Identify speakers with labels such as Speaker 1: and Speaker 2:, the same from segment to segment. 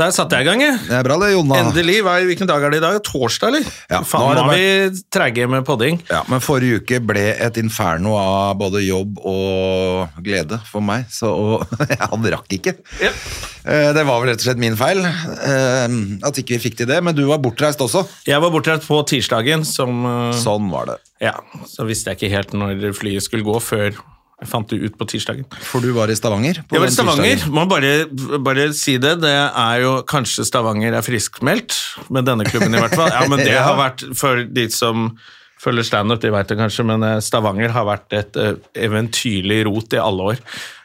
Speaker 1: Der satte jeg i gang, jeg.
Speaker 2: Det er bra det, Jonna.
Speaker 1: Endelig. Hva, er- hvilken dag er det i dag? Torsdag, eller?
Speaker 2: Ah. Ja,
Speaker 1: Faen, nå
Speaker 2: nå er
Speaker 1: er
Speaker 2: det
Speaker 1: vi treige med podding.
Speaker 2: Ja, men forrige uke ble et inferno av både jobb og glede for meg, så og, han rakk ikke.
Speaker 1: Ja.
Speaker 2: Eh, Det var vel rett og slett min feil eh, at ikke vi fikk til det, men du var bortreist også.
Speaker 1: Jeg var bortreist på tirsdagen, som eh,
Speaker 2: Sånn var det.
Speaker 1: Ja, så visste jeg ikke helt når flyet skulle gå, før jeg fant det ut på tirsdagen.
Speaker 2: For du var i Stavanger. på
Speaker 1: Jeg var i
Speaker 2: den
Speaker 1: Stavanger.
Speaker 2: tirsdagen.
Speaker 1: Må bare, bare si det. Det er jo kanskje Stavanger er friskmeldt, med denne klubben i hvert fall. Ja, men det
Speaker 2: Ja.
Speaker 1: har vært for de som følger standup, de veit det kanskje, men eh, Stavanger har vært et eh, eventyrlig rot i alle år.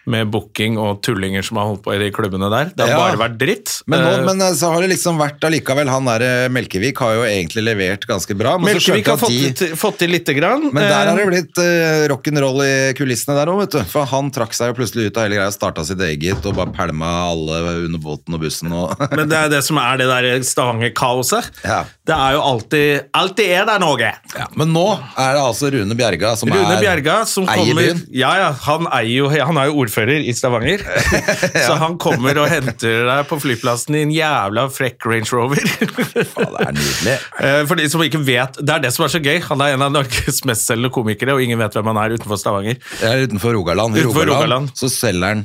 Speaker 1: Med booking og tullinger som har holdt på i de klubbene der. Det har
Speaker 2: Ja.
Speaker 1: bare vært dritt.
Speaker 2: Men, nå,
Speaker 1: Eh,
Speaker 2: men eh, så har det liksom vært allikevel Han der eh, Melkevik har jo egentlig levert ganske bra. Men så
Speaker 1: Melkevik
Speaker 2: skjønte
Speaker 1: har
Speaker 2: jeg
Speaker 1: fått,
Speaker 2: at de
Speaker 1: til- fått til lite grann.
Speaker 2: Men der
Speaker 1: Eh,
Speaker 2: har det blitt eh, rock'n'roll i kulissene der òg, vet du. For han trakk seg jo plutselig ut av hele greia, starta sitt eget og bare pælma alle under båten og bussen og
Speaker 1: Men det er det som er det der Stavanger-kaoset.
Speaker 2: Ja.
Speaker 1: Det er jo alltid Alltid er der noe!
Speaker 2: ja. Men nå er det altså Rune Bjerga som
Speaker 1: Rune
Speaker 2: er
Speaker 1: Bjerga som
Speaker 2: eier
Speaker 1: kommer
Speaker 2: byen.
Speaker 1: Ja, ja, han er jo, han er jo ordfører i Stavanger. Så han kommer og henter deg på flyplassen i en jævla frekk Range Rover.
Speaker 2: Faen, det er nydelig.
Speaker 1: Eh, For de som ikke vet, Det er det som er så gøy. Han er en av Norges mestselgende komikere, og ingen vet hvem han er utenfor Stavanger.
Speaker 2: Det er utenfor Rogaland. I
Speaker 1: Utenfor Rogaland.
Speaker 2: Så selger han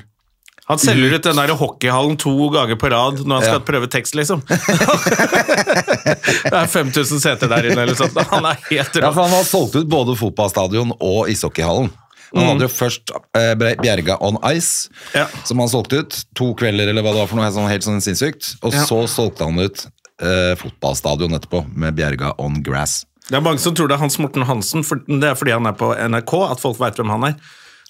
Speaker 1: Han selger ut den der hockeyhallen to ganger på rad når han skal
Speaker 2: Ja.
Speaker 1: prøve tekst, liksom. det er 5000 seter der inne, eller sånt. Han er helt
Speaker 2: Ja,
Speaker 1: rå.
Speaker 2: for han har solgt ut både fotballstadion og ishockeyhallen. Han hadde jo først eh, Bre- Bjerga on Ice,
Speaker 1: Mm. Ja.
Speaker 2: som han solgte ut. To kvelder eller hva det var for noe, sånn, helt sånn sinnssykt. Og
Speaker 1: Ja.
Speaker 2: så solgte han ut eh, fotballstadion etterpå, med Bjerga on grass.
Speaker 1: Det er mange som tror det er Hans Morten Hansen, for det er fordi han er på NRK at folk veit hvem han er.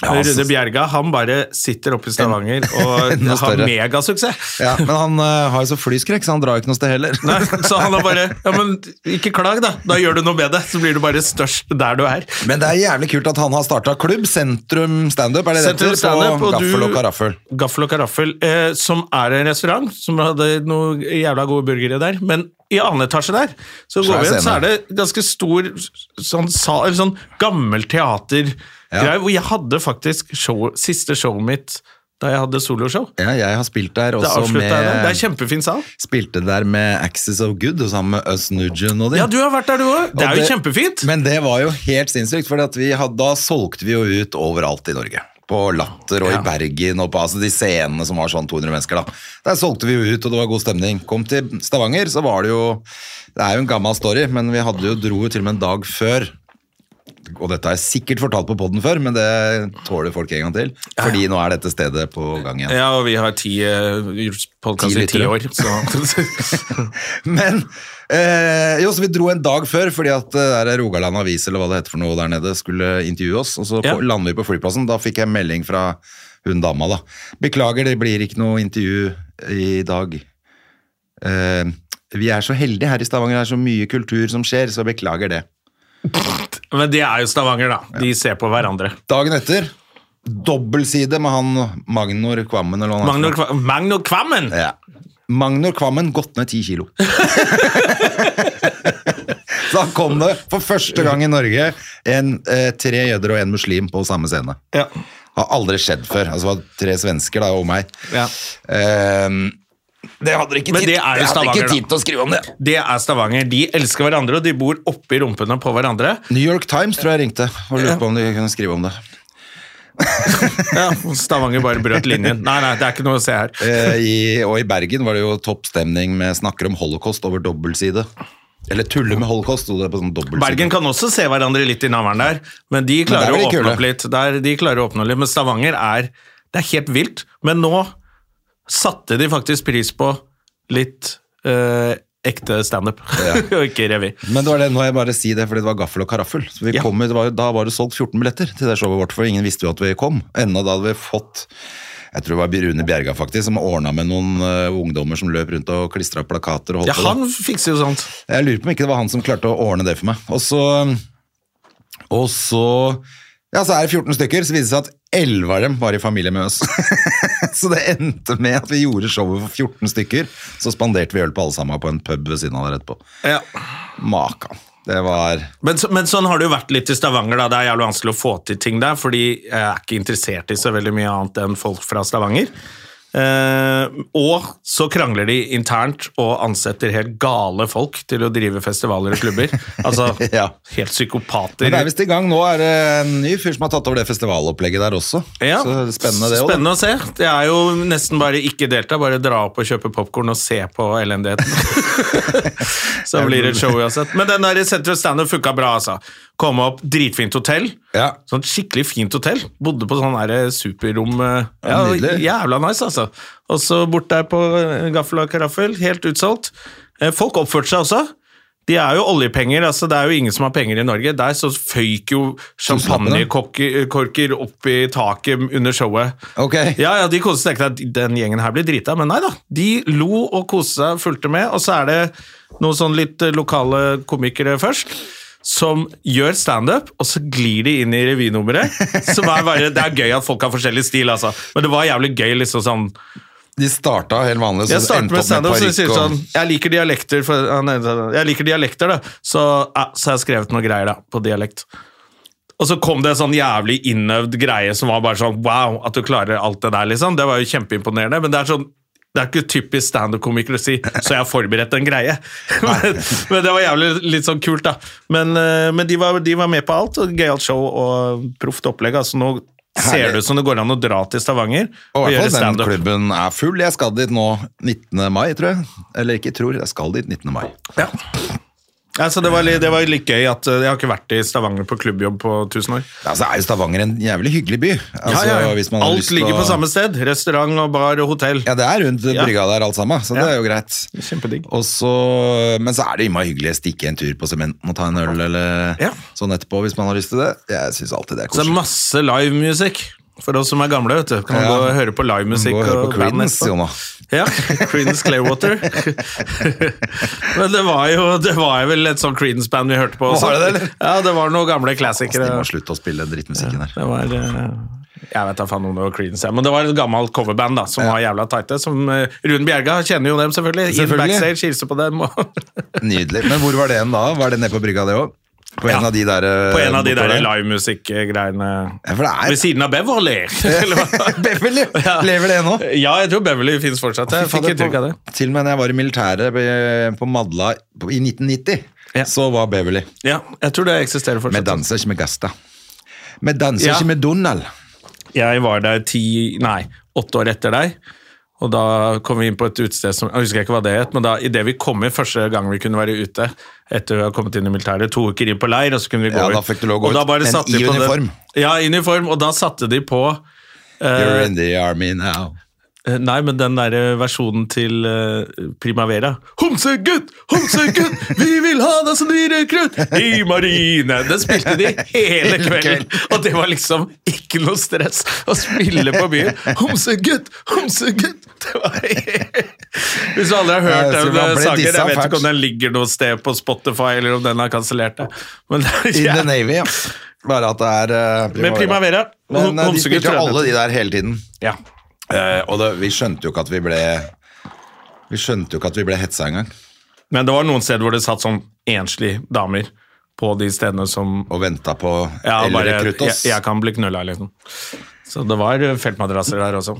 Speaker 2: Ja, altså-
Speaker 1: Rune
Speaker 2: så-
Speaker 1: Bjerga han bare sitter oppe i Stavanger og
Speaker 2: Enda
Speaker 1: har
Speaker 2: større.
Speaker 1: megasuksess.
Speaker 2: Ja, men han eh, har jo så flyskrekk, så han drar jo ikke noe sted heller.
Speaker 1: Nei, så han er bare Ja, men ikke klag, da. Da gjør du noe med det. Så blir du bare størst der du er.
Speaker 2: Men det er jævlig kult at han har starta klubb, Sentrum Standup, er det det
Speaker 1: Sentrum
Speaker 2: heter?
Speaker 1: Standup,
Speaker 2: På
Speaker 1: og du-
Speaker 2: Gaffel og Karaffel.
Speaker 1: Gaffel og karaffel, eh, som er en restaurant som hadde noen jævla gode burgere der. Men i annen etasje der, så
Speaker 2: Svær
Speaker 1: går vi inn, så
Speaker 2: scene.
Speaker 1: er det ganske stor sånn, sal, eller sånn gammel teater
Speaker 2: Ja.
Speaker 1: Hvor jeg hadde faktisk show, siste showet mitt da jeg hadde soloshow.
Speaker 2: Ja, jeg har spilt der
Speaker 1: Det
Speaker 2: også
Speaker 1: avslutta jeg nå. Det er
Speaker 2: med
Speaker 1: kjempefin sal.
Speaker 2: Spilte der med Axis of Good og sammen med Us Nugent og de.
Speaker 1: Ja, du har vært der, du òg. Det
Speaker 2: Og
Speaker 1: er jo
Speaker 2: det-
Speaker 1: kjempefint.
Speaker 2: Men det var jo helt sinnssykt, for da solgte vi jo ut overalt i Norge. På Latter og
Speaker 1: Ja.
Speaker 2: i Bergen og på altså de scenene som var sånn 200 mennesker, da. Der solgte vi jo ut, og det var god stemning. Kom til Stavanger, så var det jo Det er jo en gammel story, men vi hadde jo, dro jo til og med en dag før. Og dette har jeg sikkert fortalt på poden før, men det tåler folk en gang til. Fordi nå er dette stedet på gang igjen.
Speaker 1: Ja, og vi har ti uh, podkaster i ti
Speaker 2: lyttere.
Speaker 1: år, så
Speaker 2: Men eh, jo, så vi dro en dag før, fordi at eh, der er Rogaland Avis eller hva det heter for noe der nede, skulle intervjue oss. Og så
Speaker 1: Ja.
Speaker 2: på, lander vi på flyplassen. Da fikk jeg melding fra hun dama, da. Beklager, det blir ikke noe intervju i dag. Eh, vi er så heldige her i Stavanger, det er så mye kultur som skjer, så beklager det.
Speaker 1: Men det er jo Stavanger, da. De ser på hverandre.
Speaker 2: Dagen etter, dobbeltside med han Magnor Kvammen eller hva han
Speaker 1: Magnor, Kva- Magnor Kvammen!
Speaker 2: Ja. Magnor Kvammen gått ned ti kilo. Så han kom det for første gang i Norge en, eh, tre jøder og en muslim på samme scene.
Speaker 1: Ja.
Speaker 2: Har aldri skjedd før. Altså, det var tre svensker da, og meg.
Speaker 1: Ja.
Speaker 2: Ehm, det hadde dere ikke
Speaker 1: Men
Speaker 2: tid
Speaker 1: det er jo
Speaker 2: jeg hadde
Speaker 1: Stavanger,
Speaker 2: ikke
Speaker 1: da.
Speaker 2: tid til å skrive om det.
Speaker 1: Det er Stavanger. De elsker hverandre, og de bor oppi rumpene på hverandre.
Speaker 2: New York Times tror jeg ringte og lurte på om de kunne skrive om det.
Speaker 1: Ja, Stavanger bare brøt linjen. Nei, nei, det er ikke noe å se her.
Speaker 2: Eh, i, og i Bergen var det jo toppstemning med snakker om holocaust over dobbeltside. Eller tulle med holocaust, sto det på sånn dobbeltside.
Speaker 1: Bergen kan også se hverandre litt i navlen der, men de klarer å
Speaker 2: Men der er de
Speaker 1: åpne
Speaker 2: kule.
Speaker 1: opp litt. Der, de klarer å åpne litt, Men Stavanger er Det er helt vilt. Men nå satte de faktisk pris på litt eh, ekte standup, og ikke revy.
Speaker 2: Men det var det, nå må jeg bare si det, fordi det var gaffel og karaffel. Så vi
Speaker 1: Ja.
Speaker 2: kom, ut- det var, jo- da var det solgt 14 billetter til det showet vårt, for ingen visste jo at vi kom. Enda da hadde vi fått jeg tror det var Rune Bjerga faktisk, som ordna med noen eh, ungdommer som løp rundt og klistra plakater. og holdt
Speaker 1: Ja,
Speaker 2: på da.
Speaker 1: han fikser jo sånt.
Speaker 2: Jeg lurer på om ikke det var han som klarte å ordne det for meg. Og så, og så Ja, så er det 14 stykker, så viser det seg at 11 av dem var i familie med oss. så det endte med at vi gjorde showet for 14 stykker. Så spanderte vi øl på alle sammen på en pub ved siden av der etterpå.
Speaker 1: Ja.
Speaker 2: Makan. Det var
Speaker 1: Men, så- men sånn har det jo vært litt i Stavanger. da, Det er jævlig vanskelig å få til ting der, fordi jeg er ikke interessert i så veldig mye annet enn folk fra Stavanger. Eh, og så krangler de internt og ansetter helt gale folk til å drive festivaler og klubber. Altså
Speaker 2: Ja.
Speaker 1: helt psykopater.
Speaker 2: Men det er visst i gang. Nå er det en ny fyr som har tatt over det festivalopplegget der også.
Speaker 1: Ja.
Speaker 2: Så det er spennende det også, da.
Speaker 1: Spennende å se. Det er jo nesten bare ikke delta, bare dra opp og kjøpe popkorn og se på elendigheten. så blir det et show uansett. Men den der Central Standup funka bra, altså. Komme opp, dritfint hotell.
Speaker 2: Ja.
Speaker 1: Sånn skikkelig fint hotell. Bodde på sånn der superrom. eh, Ja,
Speaker 2: Ja, nydelig.
Speaker 1: jævla nice, altså. Og så bort der på eh, Gaffel og Karaffel, helt utsolgt. Eh, Folk oppførte seg også. De er jo oljepenger, altså det er jo ingen som har penger i Norge. Der så føyk jo champagne korker opp i taket under showet.
Speaker 2: Ok.
Speaker 1: Ja, ja, de koste seg ikke. at Den gjengen her blir drita, men nei da. De lo og koste seg, fulgte med. Og så er det noen sånn litt eh, lokale komikere først. Som gjør standup, og så glir de inn i revynummeret. Som er bare, Det er gøy at folk har forskjellig stil, altså. Men det var jævlig gøy, liksom sånn
Speaker 2: De starta helt vanlig. så
Speaker 1: jeg starter
Speaker 2: endte
Speaker 1: med
Speaker 2: opp
Speaker 1: standup, så de
Speaker 2: parykk
Speaker 1: sier
Speaker 2: og-
Speaker 1: sånn Jeg liker dialekter, for, ja, nei, nei, jeg liker dialekter da. Så, ja, så har jeg skrevet noe greier da, på dialekt. Og så kom det en sånn jævlig innøvd greie som var bare sånn Wow, at du klarer alt det der, liksom. Det var jo kjempeimponerende. Men det er sånn det er ikke typisk standup-komiker å si 'så jeg har forberedt en greie'. men, men det var jævlig litt sånn kult, da. Men, eh, men de, var, de var med på alt. og Gøyalt show og proft opplegg. Altså, nå ser
Speaker 2: Herlig.
Speaker 1: det ut som det går an å dra til Stavanger
Speaker 2: Og
Speaker 1: og,
Speaker 2: i
Speaker 1: gjøre
Speaker 2: hvert fall den
Speaker 1: standup.
Speaker 2: klubben er full. Jeg skal dit nå 19. mai, tror jeg. Eller ikke tror, jeg skal dit 19. mai.
Speaker 1: Ja. Altså, det, var litt, det var litt gøy at eh, jeg har ikke vært i Stavanger på klubbjobb på tusen år.
Speaker 2: Altså, er jo Stavanger en jævlig hyggelig by. Altså,
Speaker 1: Ja, ja, ja.
Speaker 2: hvis man har lyst
Speaker 1: Alt
Speaker 2: til
Speaker 1: ligger
Speaker 2: å-
Speaker 1: på samme sted. Restaurant og bar og hotell.
Speaker 2: Ja, det er rundt
Speaker 1: Ja.
Speaker 2: brygga der alt sammen, så det
Speaker 1: Ja.
Speaker 2: er jo greit.
Speaker 1: Kjempedigg.
Speaker 2: Og så, men så er det innmari hyggelig å stikke en tur på sementen og ta en øl eller
Speaker 1: Ja.
Speaker 2: sånn etterpå hvis man har lyst til det. Jeg syns alltid det er
Speaker 1: Så det er
Speaker 2: koselig.
Speaker 1: masse livemusikk. For oss som er gamle, vet du. Kan man
Speaker 2: Ja.
Speaker 1: gå og høre på livemusikk.
Speaker 2: Gå og høre
Speaker 1: og
Speaker 2: på
Speaker 1: band
Speaker 2: Creedence,
Speaker 1: etterpå.
Speaker 2: Jonna.
Speaker 1: Ja, Creedence Clearwater. Men det var jo det var jo vel et sånt Creedence-band vi hørte på. også.
Speaker 2: Var det det, eller?
Speaker 1: Ja, det var noen gamle
Speaker 2: Altså, de
Speaker 1: klassikere.
Speaker 2: må slutte å spille den drittmusikken der.
Speaker 1: Det var eh, Jeg vet da faen om det var Creedence, ja, men det var et gammelt coverband da, som var jævla tighte. Som eh, Rune Bjerga kjenner jo dem, selvfølgelig. Inn
Speaker 2: Selvfølgelig.
Speaker 1: backstage, hilser på dem. Og
Speaker 2: Nydelig. Men hvor var det en da? Var det nede på brygga, det òg? På en
Speaker 1: Ja.
Speaker 2: av de der eh,
Speaker 1: på en av de
Speaker 2: bortover
Speaker 1: der livemusikk-greiene.
Speaker 2: Ja, for det er-
Speaker 1: Ved siden av Beverly! eller hva?
Speaker 2: Beverly! Lever det ennå?
Speaker 1: Ja, jeg tror Beverly finnes fortsatt. Jeg fikk inntrykk av det.
Speaker 2: Til og med når jeg var i militæret eh, på Madla på- i 1990,
Speaker 1: Ja.
Speaker 2: så var Beverly.
Speaker 1: Ja, jeg tror det eksisterer
Speaker 2: Vi
Speaker 1: fortsatt.
Speaker 2: danser ikke med Gasta. Vi danser
Speaker 1: Ja.
Speaker 2: ikke med Donald.
Speaker 1: Jeg var der ti, nei, åtte år etter deg. Og da kom vi inn på et utested som Jeg husker ikke hva det het, men da idet vi kom inn første gang vi kunne være ute etter vi hadde kommet inn i militæret, to uker inn på leir, og så kunne vi gå
Speaker 2: Ja,
Speaker 1: ut.
Speaker 2: da fikk du lov å gå
Speaker 1: Og
Speaker 2: ut,
Speaker 1: da bare
Speaker 2: men
Speaker 1: satte
Speaker 2: i
Speaker 1: de på den-
Speaker 2: uniform.
Speaker 1: Ja, i uniform, og da satte de på
Speaker 2: You're in the army now.
Speaker 1: eh, Nei, men den derre versjonen til eh, Primavera. Homsegutt, homsegutt, vi vil ha deg som dyrekrutt i marine! Den spilte de hele kvelden, og det var liksom ikke noe stress å spille på byen. Homsegutt, homsegutt! Det var Hvis du aldri har hørt
Speaker 2: Ja, så
Speaker 1: den
Speaker 2: man ble
Speaker 1: sangen,
Speaker 2: dissa
Speaker 1: jeg vet
Speaker 2: fælt.
Speaker 1: ikke om den ligger noe sted på Spotify, eller om den er kansellert. det. Men det
Speaker 2: In the
Speaker 1: er
Speaker 2: Navy, ja. Bare at det er eh,
Speaker 1: Med Primavera.
Speaker 2: Men eh, de
Speaker 1: Homsegutt
Speaker 2: spilte
Speaker 1: tror jeg
Speaker 2: jo alle
Speaker 1: den
Speaker 2: de der hele tiden.
Speaker 1: heter. Ja.
Speaker 2: Eh, og det, vi skjønte jo ikke at vi ble Vi skjønte jo ikke at vi ble hetsa engang.
Speaker 1: Men det var noen steder hvor det satt sånn enslige damer på de stedene som
Speaker 2: Og venta på
Speaker 1: ja,
Speaker 2: eller
Speaker 1: bare,
Speaker 2: rekrutt
Speaker 1: jeg,
Speaker 2: oss.
Speaker 1: jeg kan bli knulla, liksom. Så det var eh, feltmadrasser der også.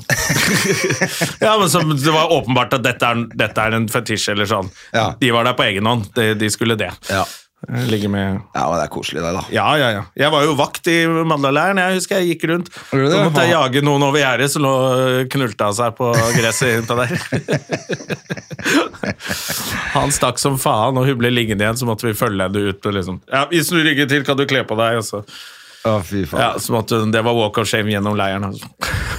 Speaker 1: ja, men så, Det var åpenbart at dette er, dette er en fetisj eller sånn.
Speaker 2: Ja.
Speaker 1: De var der på egen hånd. De, de skulle det. Eh,
Speaker 2: Ja.
Speaker 1: Ligge med
Speaker 2: ja, men det er koselig, det, da.
Speaker 1: ja, ja, ja. Jeg var jo vakt i Mandalairen. Jeg husker jeg gikk rundt.
Speaker 2: Gjorde du
Speaker 1: Så
Speaker 2: det?
Speaker 1: måtte jeg
Speaker 2: Ja.
Speaker 1: jage noen over gjerdet som lå knulta seg på gresset inntil der. Han stakk som faen, og hun ble liggende igjen, så måtte vi følge henne ut. Og liksom. ja, 'Hvis du rygger til, kan du kle på deg.' Og så.
Speaker 2: Å, fy faen.
Speaker 1: Ja, så måtte hun, det var walk of shame gjennom leiren. altså.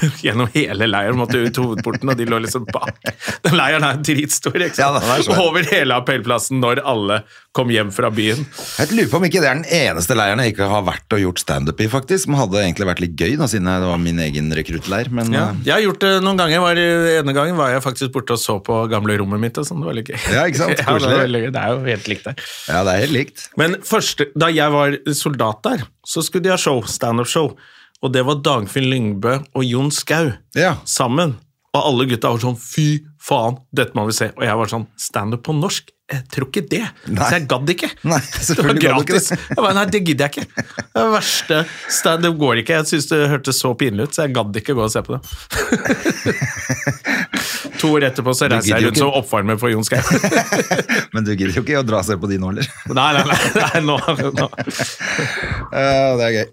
Speaker 1: gjennom hele leiren måtte hun ut hovedporten, og de lå liksom bak. Den leiren er dritstor. ikke sant?
Speaker 2: Ja, den er svær.
Speaker 1: Over hele appellplassen når alle Kom hjem fra byen.
Speaker 2: Jeg lurer på om ikke det er den eneste leiren jeg ikke har vært og gjort standup i, faktisk. Som hadde egentlig vært litt gøy, da, siden jeg- det var min egen rekruttleir. Men
Speaker 1: Ja.
Speaker 2: eh,
Speaker 1: Jeg har gjort det noen ganger. Jeg Var, ene gangen var jeg faktisk borte og så på gamle rommet mitt. Og sånn. det var litt gøy.
Speaker 2: Ja, ikke sant?
Speaker 1: Ja, det,
Speaker 2: Koselig.
Speaker 1: var veldig gøy. det er jo helt likt der.
Speaker 2: ja, det er helt likt.
Speaker 1: Men første, da jeg var soldat der, så skulle de ha show, standup-show. Og det var Dagfinn Lyngbø og Jon Skau
Speaker 2: Ja.
Speaker 1: sammen. Og alle gutta var sånn 'fy faen, dette må vi se'. Og jeg var sånn 'standup på norsk'? Jeg tror ikke det.
Speaker 2: Nei.
Speaker 1: Så jeg gadd ikke.
Speaker 2: Nei,
Speaker 1: det var
Speaker 2: selvfølgelig gadd du ikke
Speaker 1: gratis.
Speaker 2: det.
Speaker 1: Jeg bare, Nei, det gidder jeg ikke. Det er det verste standup går ikke. Jeg syns det hørtes så pinlig ut, så jeg gadd ikke gå og se på det. to år etterpå så
Speaker 2: Du
Speaker 1: reiser
Speaker 2: gidder
Speaker 1: jeg
Speaker 2: jo
Speaker 1: rundt som oppvarmer for Jon Skau.
Speaker 2: Men du gidder jo ikke å dra og se på de nå, heller.
Speaker 1: nei, nei, nei, nei nå, nå.
Speaker 2: Eh, det er gøy.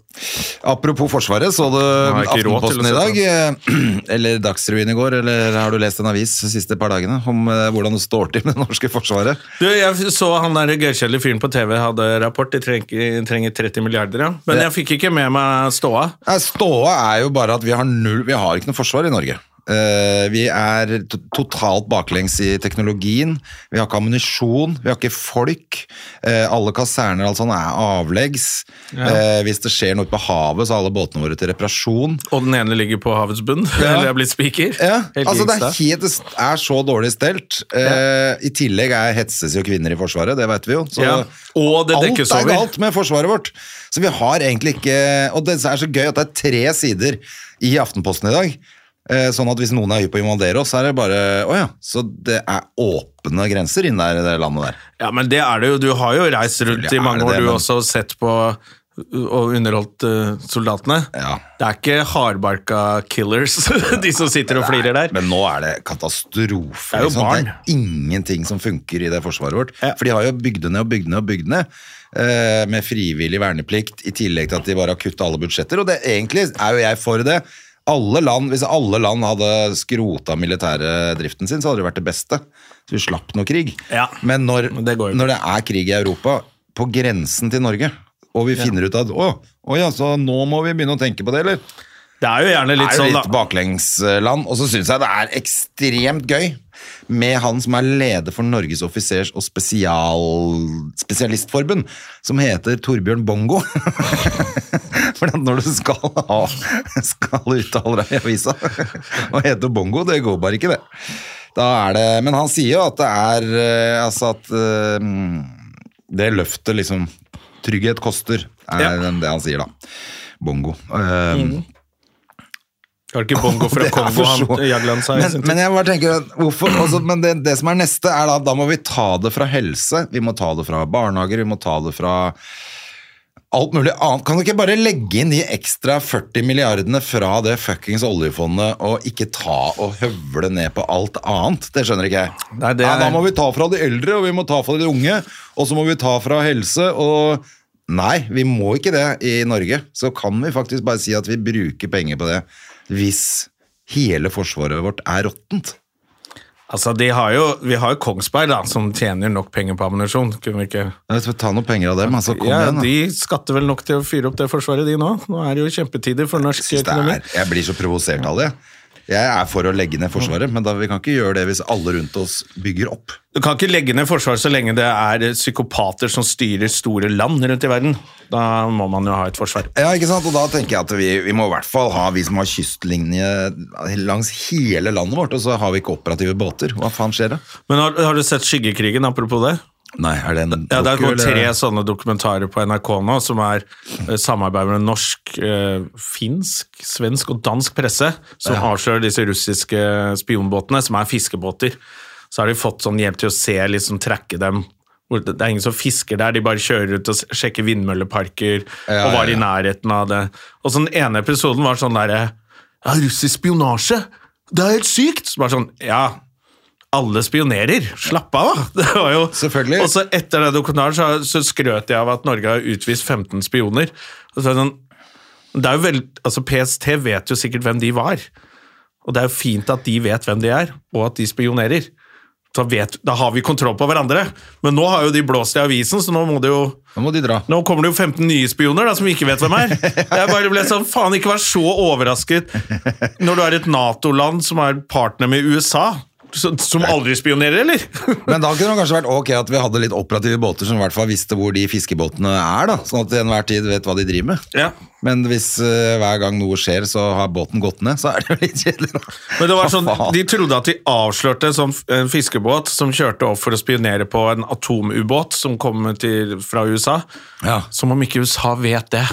Speaker 2: Apropos Forsvaret, så du
Speaker 1: har jeg ikke råd til å
Speaker 2: Aftenposten i
Speaker 1: se
Speaker 2: dag? eh, Eller Dagsrevyen i går? Eller har du lest en avis de siste par dagene om eh, hvordan det står til med det norske forsvaret?
Speaker 1: Du, jeg så han der gørrkjedelige fyren på TV hadde rapport. De trenger, trenger 30 milliarder, ja. Men jeg fikk ikke med meg ståa.
Speaker 2: Nei, Ståa er jo bare at vi har null Vi har ikke noe forsvar i Norge. Eh, vi er to- totalt baklengs i teknologien. Vi har ikke ammunisjon, vi har ikke folk. Eh, alle kaserner og alt sånt er avleggs. Eh, hvis det skjer noe på havet, så er alle båtene våre til reparasjon.
Speaker 1: Og den ene ligger på havets bunn. Eller er blitt spiker.
Speaker 2: Ja,
Speaker 1: Helt
Speaker 2: altså det er,
Speaker 1: gangsta.
Speaker 2: helt, det er så dårlig stelt. Eh, I tillegg er hetses jo kvinner i Forsvaret, det vet vi jo. Så
Speaker 1: Ja, og det
Speaker 2: alt
Speaker 1: dekkes
Speaker 2: er
Speaker 1: over.
Speaker 2: galt med Forsvaret vårt. Så vi har egentlig ikke Og det er så gøy at det er tre sider i Aftenposten i dag. Eh, sånn at hvis noen er hypp på å invadere oss, så er det bare Å ja. Så det er åpne grenser inn der i det landet der.
Speaker 1: Ja, men det er det jo. Du har jo reist rundt i
Speaker 2: Selvfølgelig er
Speaker 1: mange
Speaker 2: det
Speaker 1: år,
Speaker 2: det,
Speaker 1: du
Speaker 2: men-
Speaker 1: også, og sett på uh, og underholdt eh, soldatene.
Speaker 2: Ja.
Speaker 1: Det er ikke hardbarka killers, de som sitter og flirer der.
Speaker 2: Men nå er det katastrofe.
Speaker 1: Det er jo
Speaker 2: liksom.
Speaker 1: barn.
Speaker 2: Det er ingenting som funker i det forsvaret vårt.
Speaker 1: Ja.
Speaker 2: For de har jo bygd ned og bygd ned og bygd ned. eh, med frivillig verneplikt, i tillegg til at de bare har kutta alle budsjetter. Og det, egentlig er jo jeg for det. Alle land, hvis alle land hadde skrota militærdriften sin, så hadde det vært det beste. Så vi slapp noe krig.
Speaker 1: Ja.
Speaker 2: Men når,
Speaker 1: Men det går jo ikke.
Speaker 2: når det er krig i Europa, på grensen til Norge, og vi finner ut at å, å ja, så nå må vi begynne å tenke på det, eller?
Speaker 1: Det er jo gjerne litt
Speaker 2: er jo
Speaker 1: sånn,
Speaker 2: litt
Speaker 1: da.
Speaker 2: baklengsland, og så syns jeg det er ekstremt gøy med han som er leder for Norges offisers- og spesial... spesialistforbund, som heter Torbjørn Bongo. For at når du skal, ha, skal uttale deg i avisa og heter Bongo, det går bare ikke, det. Da er det Men han sier jo at det er eh, Altså at eh, det løftet liksom Trygghet koster, er
Speaker 1: Ja.
Speaker 2: det han sier, da. Bongo. Eh,
Speaker 1: Har ikke Bongo fra
Speaker 2: det er
Speaker 1: Kongo
Speaker 2: for så-
Speaker 1: han Jagland sa? i sin
Speaker 2: men,
Speaker 1: tid?
Speaker 2: men jeg bare tenker at hvorfor, altså, men det, det som er neste, er da da må vi ta det fra helse, vi må ta det fra barnehager, vi må ta det fra alt mulig annet. Kan du ikke bare legge inn de ekstra 40 milliardene fra det fuckings oljefondet og ikke ta og høvle ned på alt annet? Det skjønner ikke jeg.
Speaker 1: Nei, det
Speaker 2: Ja,
Speaker 1: er-
Speaker 2: da må vi ta fra de eldre, og vi må ta fra de unge, og så må vi ta fra helse og Nei, vi må ikke det i Norge. Så kan vi faktisk bare si at vi bruker penger på det hvis hele forsvaret vårt er råttent.
Speaker 1: Altså, de har jo, Vi har jo Kongsberg, da, som tjener nok penger på ammunisjon. Kunne vi ikke
Speaker 2: Ja, så Ta noen penger av dem, altså. Kom
Speaker 1: Ja,
Speaker 2: igjen. da.
Speaker 1: de skatter vel nok til å fyre opp det forsvaret, de nå. Nå er det jo kjempetider for norsk
Speaker 2: Syns det
Speaker 1: økonomi.
Speaker 2: er, jeg blir så provosert av det. Jeg er for å legge ned Forsvaret, men da, vi kan ikke gjøre det hvis alle rundt oss bygger opp.
Speaker 1: Du kan ikke legge ned Forsvaret så lenge det er psykopater som styrer store land rundt i verden. Da må man jo ha et forsvar.
Speaker 2: Ja, ikke sant? Og da tenker jeg at vi, vi må i hvert fall ha vi som har kystlinje langs hele landet vårt, og så har vi ikke operative båter. Hva faen skjer da?
Speaker 1: Men har, har du sett Skyggekrigen, apropos det?
Speaker 2: Nei, er det en
Speaker 1: Ja, Det er
Speaker 2: doku,
Speaker 1: jo tre
Speaker 2: eller?
Speaker 1: sånne dokumentarer på NRK nå, som er eh, samarbeid med norsk, eh, finsk, svensk og dansk presse, som avslører disse russiske spionbåtene, som er fiskebåter. Så har de fått sånn hjelp til å se, liksom trekke dem. Hvor Det det er ingen som fisker der, de bare kjører ut og s- sjekker vindmølleparker,
Speaker 2: Ja,
Speaker 1: og var
Speaker 2: ja,
Speaker 1: i nærheten av det. Og så den ene episoden var sånn derre Ja, russisk spionasje! Det er helt sykt! Så bare sånn, ja alle spionerer. Slapp av, da! Det var jo...
Speaker 2: Selvfølgelig.
Speaker 1: Og så etter den dokumentaren så, så skrøt jeg av at Norge har utvist 15 spioner. Og så er det sånn, det er jo vel, altså PST vet jo sikkert hvem de var. Og det er jo fint at de vet hvem de er, og at de spionerer. Da, vet, da har vi kontroll på hverandre. Men nå har jo de blåst i avisen, så nå må det jo
Speaker 2: Nå må de dra.
Speaker 1: nå kommer det jo 15 nye spioner da, som vi ikke vet hvem er. Jeg bare ble sånn, faen, ikke vær så overrasket når du er et NATO-land som er partner med USA. Så, som aldri spionerer, eller?
Speaker 2: Men da kunne det kanskje vært ok at vi hadde litt operative båter som i hvert fall visste hvor de fiskebåtene er, da. Sånn at de enhver tid vet hva de driver med.
Speaker 1: ja.
Speaker 2: Men hvis eh, hver gang noe skjer, så har båten gått ned, så er det jo litt kjedelig, da.
Speaker 1: Men det var sånn,
Speaker 2: Hva faen?
Speaker 1: De trodde at de avslørte en, sånn, f- en fiskebåt som kjørte opp for å spionere på en atomubåt som kom til, fra USA.
Speaker 2: Ja.
Speaker 1: Som om ikke USA vet det.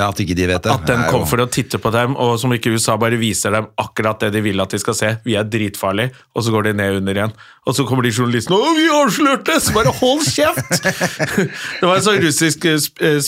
Speaker 2: ja, at ikke de vet det.
Speaker 1: At den
Speaker 2: Det er
Speaker 1: kom
Speaker 2: jo-
Speaker 1: for å titte på dem, og som ikke USA bare viser dem akkurat det de vil at de skal se. Vi er dritfarlige, og så går de ned under igjen. Og så kommer de journalistene og 'vi avslørte!' Så bare hold kjeft! det var en sånn russisk eh, sp- eh,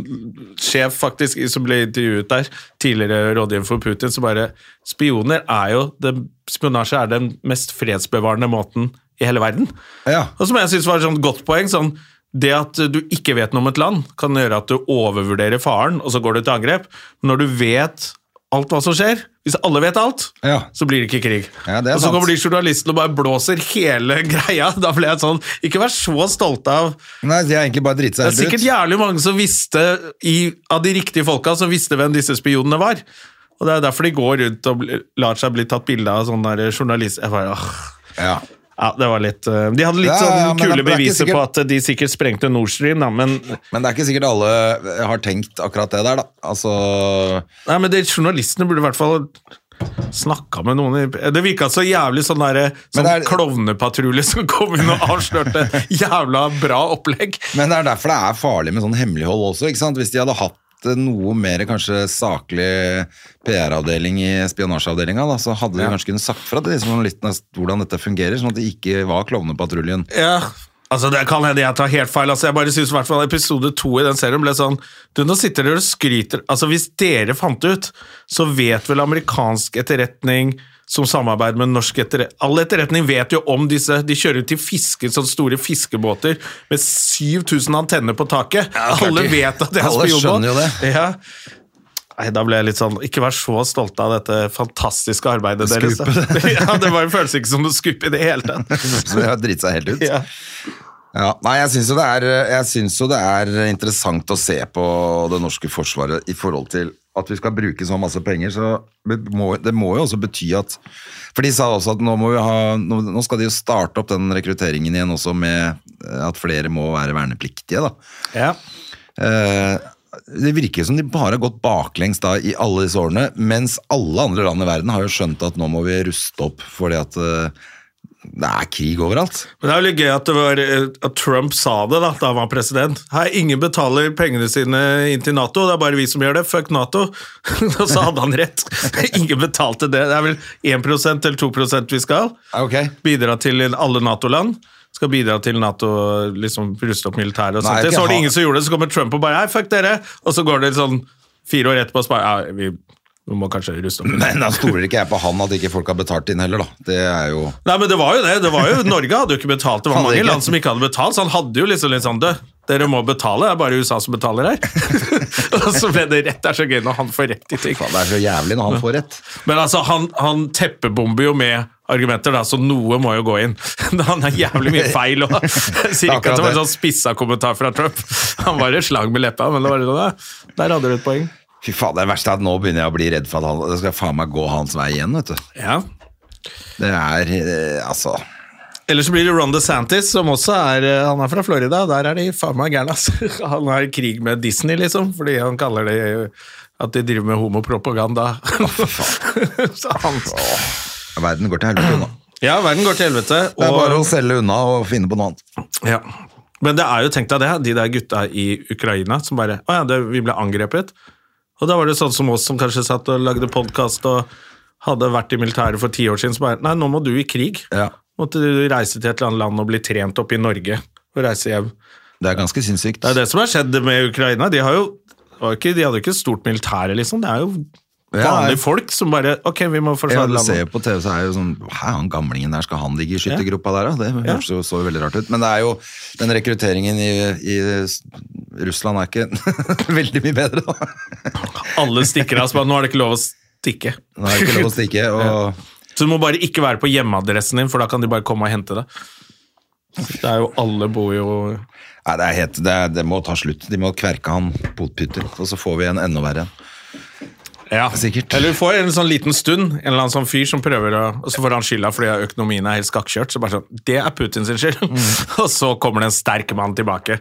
Speaker 1: spionsjef faktisk som ble intervjuet der, tidligere rådgiver for Putin, som bare Spioner er jo det- Spionasje er den mest fredsbevarende måten i hele verden.
Speaker 2: Ja.
Speaker 1: Og som jeg synes var et sånt godt poeng, sånn, det at du ikke vet noe om et land, kan gjøre at du overvurderer faren, og så går du til angrep. Men når du vet alt hva som skjer, hvis alle vet alt,
Speaker 2: Ja.
Speaker 1: så blir det ikke krig.
Speaker 2: Ja, det er
Speaker 1: og så
Speaker 2: sant.
Speaker 1: kommer de journalistene og bare blåser hele greia. Da ble jeg sånn, ikke vær så stolt av
Speaker 2: Nei, de har egentlig bare
Speaker 1: Det
Speaker 2: driti seg
Speaker 1: er
Speaker 2: helt
Speaker 1: sikkert
Speaker 2: ut.
Speaker 1: jævlig mange som visste, i, av de riktige folka, som visste hvem disse spionene var. Og det er derfor de går rundt og bl- lar seg bli tatt bilde av sånne der journalist... Jeg bare, åh.
Speaker 2: Ja.
Speaker 1: Ja, det var litt eh, De hadde litt
Speaker 2: Ja,
Speaker 1: sånn
Speaker 2: ja, men
Speaker 1: kule
Speaker 2: det er ikke
Speaker 1: beviser på
Speaker 2: sikkert-
Speaker 1: at de sikkert sprengte Nord Stream, da, men, nei,
Speaker 2: Men det er ikke sikkert alle eh, har tenkt akkurat det der, da. Altså
Speaker 1: men de journalistene burde i hvert fall snakka med noen i Det virka så jævlig sånn derre
Speaker 2: Men
Speaker 1: sånn
Speaker 2: det er-
Speaker 1: klovnepatrulje som kom inn og avslørte et jævla bra opplegg.
Speaker 2: Men det er derfor det er farlig med sånn hemmelighold også, ikke sant? Hvis de hadde hatt eh, noe mer kanskje saklig PR-avdeling i spionasjeavdelinga, da, så hadde de kanskje kunnet sagt fra til de journalistene hvordan dette fungerer, sånn at det ikke var klovnepatruljen.
Speaker 1: Ja. Altså, Det kan hende jeg tar helt feil. altså Jeg bare synes i hvert fall Episode to i den serien ble sånn du, Nå sitter dere og skryter Altså, Hvis dere fant det ut, så vet vel amerikansk etterretning som samarbeider med norsk etterretning All etterretning vet jo om disse. De kjører ut til fiske, sånne store fiskebåter med 7000 antenner på taket.
Speaker 2: Ja, klart
Speaker 1: Alle
Speaker 2: de-
Speaker 1: vet at det er
Speaker 2: Alle
Speaker 1: spionbåt.
Speaker 2: skjønner jo det.
Speaker 1: Ja. Nei, da ble jeg litt sånn Ikke vær så stolte av dette fantastiske arbeidet deres. da. ja, Det var en følelse ikke som å skupe i det hele tatt.
Speaker 2: Så de har driti seg helt ut.
Speaker 1: Ja.
Speaker 2: Ja, nei, jeg syns jo, det er- jeg synes jo det er interessant å se på det norske forsvaret i forhold til at vi skal bruke så masse penger. Så det må, det må jo også bety at For de sa også at nå, må vi ha, nå, nå skal de jo starte opp den rekrutteringen igjen også med eh, at flere må være vernepliktige, da.
Speaker 1: Ja.
Speaker 2: Eh, det virker som de bare har gått baklengs da i alle disse årene, mens alle andre land i verden har jo skjønt at nå må vi ruste opp fordi at eh, det er krig overalt.
Speaker 1: Men det er jo litt gøy at, det var, eh, at Trump sa det da, da han var president. Hei, ingen betaler pengene sine inn til Nato, det er bare vi som gjør det. Fuck Nato. Og så hadde han rett. Ingen betalte det. Det er vel 1 eller 2 vi skal
Speaker 2: Ok.
Speaker 1: bidra til i alle Nato-land. Skal bidra til Nato liksom ruste opp militæret og
Speaker 2: Nei,
Speaker 1: sånt.
Speaker 2: ikke
Speaker 1: Så var det
Speaker 2: ha-
Speaker 1: ingen som gjorde det, så kommer Trump og bare hei, fuck dere. Og så går det sånn fire år etterpå og så bare ja, vi, vi må kanskje ruste opp.
Speaker 2: Men da stoler ikke jeg på han at ikke folk har betalt inn heller, da. Det er jo
Speaker 1: Nei, men det var jo det. det var jo, Norge hadde jo ikke betalt. Det var
Speaker 2: Hadde
Speaker 1: mange
Speaker 2: ikke.
Speaker 1: land som ikke hadde betalt, så han hadde jo liksom litt sånn «Dø, Dere må betale, det er bare USA som betaler her. og så ble det rett. Det er så gøy når han får rett i ting.
Speaker 2: Faen, det er så jævlig når han får rett.
Speaker 1: Men altså, han, han teppebomber jo med argumenter, da, så noe må jo gå inn. han er jævlig mye feil òg. Jeg sier ikke at det var en sånn spissa kommentar fra Trump. Han var en slang med leppa, men det var sånn, ja, der hadde du et poeng.
Speaker 2: Fy faen, det verste er at nå begynner jeg å bli redd for at han, det skal faen meg gå hans vei igjen, vet du.
Speaker 1: Ja.
Speaker 2: Det er eh, altså
Speaker 1: Eller så blir det Ron DeSantis, som også er eh, Han er fra Florida, der er de faen meg gærne, altså. Han er i krig med Disney, liksom, fordi han kaller det eh, at de driver med homopropaganda. så han
Speaker 2: Verden går til helvete unna.
Speaker 1: Ja, verden går til helvete.
Speaker 2: Det er bare
Speaker 1: Og,
Speaker 2: å selge unna og finne på noe annet.
Speaker 1: ja. Men det er jo, tenk deg det, de der gutta i Ukraina som bare Å ja, det, vi ble angrepet. Og da var det sånn som oss som kanskje satt og lagde podkast og hadde vært i militæret for ti år siden, som bare Nei, nå må du i krig.
Speaker 2: Ja.
Speaker 1: Måtte du reise til et eller annet land og bli trent opp i Norge og reise hjem.
Speaker 2: Det er ganske sinnssykt.
Speaker 1: Det er det som har skjedd med Ukraina. De, har jo, det var jo ikke, de hadde jo ikke stort militære, liksom. Det er jo
Speaker 2: Ja,
Speaker 1: vanlige
Speaker 2: jeg-
Speaker 1: folk som bare Ok, vi må
Speaker 2: Ja,
Speaker 1: forsvare
Speaker 2: du ser
Speaker 1: landet.
Speaker 2: jo på TV, så er jo sånn Hæ, han gamlingen der, skal han ligge i skyttergropa der, da? Det
Speaker 1: Ja.
Speaker 2: høres jo så veldig rart ut. Men det er jo Den rekrutteringen i, i Russland er ikke veldig mye bedre, da.
Speaker 1: Alle stikker av. så bare, Nå er det ikke lov å stikke.
Speaker 2: Nå er det ikke lov å stikke, og
Speaker 1: Så du må bare ikke være på hjemmeadressen din, for da kan de bare komme og hente deg. Det er jo Alle bor jo
Speaker 2: Nei, det, er helt, det, er, det må ta slutt. De må kverke han potpytter, og så får vi en enda verre en.
Speaker 1: Ja.
Speaker 2: Sikkert.
Speaker 1: Eller du får en sånn liten stund, en eller annen sånn fyr som prøver å Og så får han skylda fordi økonomien er helt skakkjørt. Så bare sånn Det er Putins skyld!
Speaker 2: Mm.
Speaker 1: og så kommer det en sterk mann tilbake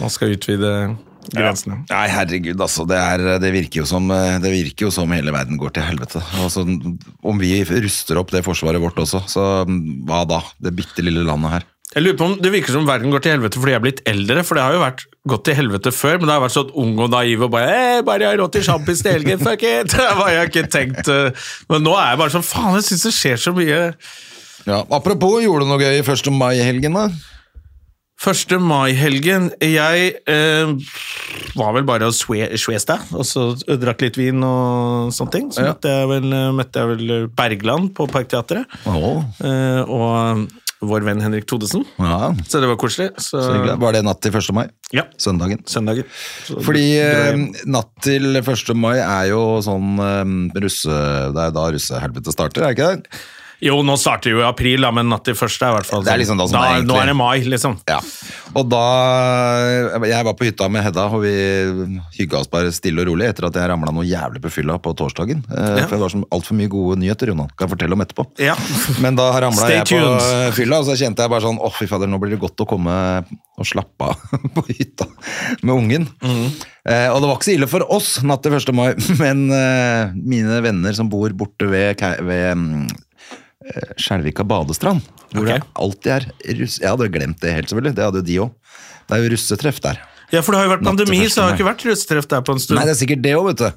Speaker 1: og skal utvide grensene.
Speaker 2: Nei, herregud, altså. Det, er, det, virker jo som, eh, det virker jo som hele verden går til helvete. Altså, om vi ruster opp det forsvaret vårt også, så mm, hva da? Det bitte lille landet her.
Speaker 1: Jeg lurer på om Det virker som verden går til helvete fordi jeg er blitt eldre. For det har jo vært gått til helvete før, men det har vært sånn ung og naiv og bare hey, 'Bare jeg har råd til sjampis til helgen, fuck it!' Det har jeg ikke tenkt eh, Men nå er jeg bare sånn Faen, jeg syns det skjer så mye.
Speaker 2: Ja, apropos, gjorde du noe gøy i 1. mai-helgen, da?
Speaker 1: 1. mai-helgen Jeg eh, var vel bare og sve- sveste, og så drakk litt vin og sånne ting. Så
Speaker 2: Ja.
Speaker 1: møtte, jeg vel, eh, møtte jeg vel Bergland på Parkteatret.
Speaker 2: Åh.
Speaker 1: eh, og vår venn Henrik Thodesen.
Speaker 2: Ja,
Speaker 1: Så det var koselig. Så,
Speaker 2: så hyggelig. Var det natt til 1. mai?
Speaker 1: Ja.
Speaker 2: Søndagen?
Speaker 1: Søndagen. Så
Speaker 2: Fordi
Speaker 1: dro jeg
Speaker 2: eh,
Speaker 1: hjem.
Speaker 2: natt til 1. mai er jo sånn eh, russe... Det er da russehelvete starter, er det ikke det?
Speaker 1: Jo, nå starter jo i april, da, men natt til første er i hvert fall
Speaker 2: Det er liksom da som er
Speaker 1: Nå
Speaker 2: egentlig-
Speaker 1: er det mai, liksom.
Speaker 2: Ja. Og da Jeg var på hytta med Hedda, og vi hygga oss bare stille og rolig etter at jeg ramla noe jævlig på fylla på torsdagen. Eh,
Speaker 1: Ja.
Speaker 2: For det var altfor mye gode nyheter, Jonan. Kan jeg fortelle om etterpå.
Speaker 1: Ja.
Speaker 2: Men da ramla
Speaker 1: Stay
Speaker 2: jeg på
Speaker 1: tuned.
Speaker 2: fylla, og så kjente jeg bare sånn Å, fy fader, nå blir det godt å komme og slappe av på hytta med ungen.
Speaker 1: Mhm.
Speaker 2: Eh, og det var ikke så ille for oss natt til 1. mai, men eh, mine venner som bor borte ved, Kei- ved mm, eh, Skjelvika badestrand, hvor
Speaker 1: Ok.
Speaker 2: det alltid er russ... Jeg hadde glemt det helt, selvfølgelig. Det hadde jo de òg. Det er jo russetreff der.
Speaker 1: ja, for det har jo vært
Speaker 2: Natt til
Speaker 1: pandemi,
Speaker 2: første
Speaker 1: så det har
Speaker 2: mai.
Speaker 1: ikke vært russetreff der på en stund.
Speaker 2: Nei, det er sikkert det òg, vet du.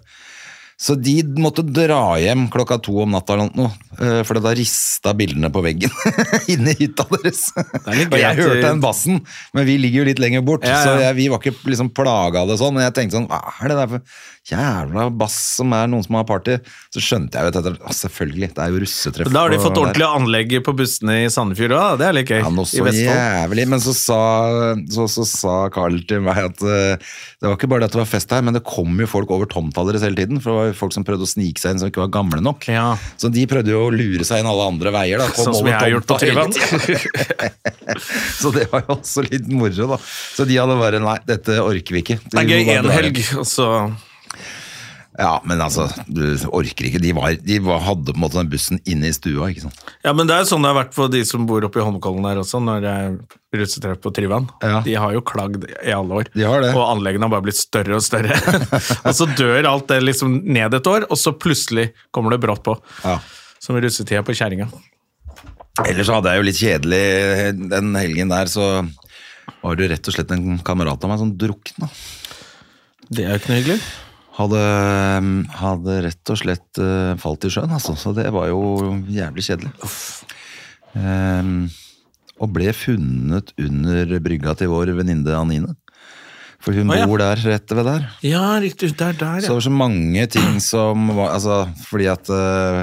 Speaker 2: Så de måtte dra hjem klokka to om natta eller noe, eh, for da rista bildene på veggen inne i hytta deres.
Speaker 1: er litt
Speaker 2: Og jeg
Speaker 1: greit,
Speaker 2: hørte
Speaker 1: eh,
Speaker 2: den bassen, men vi ligger jo litt lenger bort,
Speaker 1: Ja, ja.
Speaker 2: så jeg, vi var ikke liksom plaga av det sånn. Men jeg tenkte sånn, hva er det der for jævla bass som er noen som har party? Så skjønte jeg jo etter hvert, selvfølgelig, det er jo russetreff.
Speaker 1: Da har de
Speaker 2: på-
Speaker 1: fått
Speaker 2: der.
Speaker 1: ordentlig anlegg på bussene i Sandefjord òg, det er litt gøy.
Speaker 2: Ja, noe
Speaker 1: I
Speaker 2: så
Speaker 1: Vestfold.
Speaker 2: jævlig. Men så sa, så, så sa Carl til meg at eh, det var ikke bare det at det var fest her, men det kom jo folk over tomta deres hele tiden. For det var jo folk som prøvde å snike seg inn som ikke var gamle nok.
Speaker 1: Ja.
Speaker 2: Så de prøvde jo å lure seg inn alle andre veier. Da. Kom
Speaker 1: Sånn som
Speaker 2: over
Speaker 1: jeg har gjort på
Speaker 2: tomta hele
Speaker 1: Tryvann.
Speaker 2: tiden. Så det var jo også litt moro, da. Så de hadde bare Nei, dette orker vi ikke. Vi
Speaker 1: Det er
Speaker 2: må
Speaker 1: gøy
Speaker 2: bare
Speaker 1: én
Speaker 2: dra hjem.
Speaker 1: helg, og så
Speaker 2: Ja, men altså, du orker ikke. De, var, de var, hadde på en måte den bussen inne i stua, ikke sant.
Speaker 1: Ja, men det er jo sånn det har vært for de som bor oppe i Holmenkollen her også, når det er russetreff på Tryvann.
Speaker 2: Ja.
Speaker 1: De har jo klagd i alle år,
Speaker 2: De har det.
Speaker 1: og anleggene har bare blitt større og større. og så dør alt det liksom ned et år, og så plutselig kommer det brått på.
Speaker 2: Ja.
Speaker 1: Som russetida på kjerringa.
Speaker 2: Ellers så hadde jeg jo litt kjedelig eh, den helgen der, så var det jo rett og slett en kamerat av meg som drukna.
Speaker 1: Det er jo ikke noe hyggelig.
Speaker 2: Hadde, eh, hadde rett og slett eh, falt i sjøen, altså. Så det var jo jævlig kjedelig. Ehm, og ble funnet under brygga til vår venninne Anine. For hun
Speaker 1: Å, ja.
Speaker 2: bor der rett ved der.
Speaker 1: Ja, riktig. Det er der,
Speaker 2: Så
Speaker 1: ja.
Speaker 2: det var så mange ting som var Altså, fordi at eh,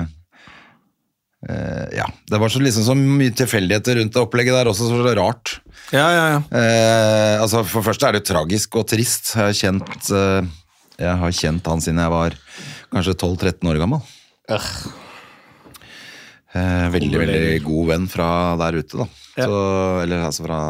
Speaker 2: eh, Ja. Det var så liksom så mye tilfeldigheter rundt det opplegget der også, så det var så rart.
Speaker 1: ja, ja, ja.
Speaker 2: Eh, altså For det første er det jo tragisk og trist. Jeg har kjent, eh, jeg har kjent han siden jeg var kanskje 12-13 år gammel. Eh, veldig veldig god venn fra der ute, da.
Speaker 1: Ja.
Speaker 2: Så, eller altså fra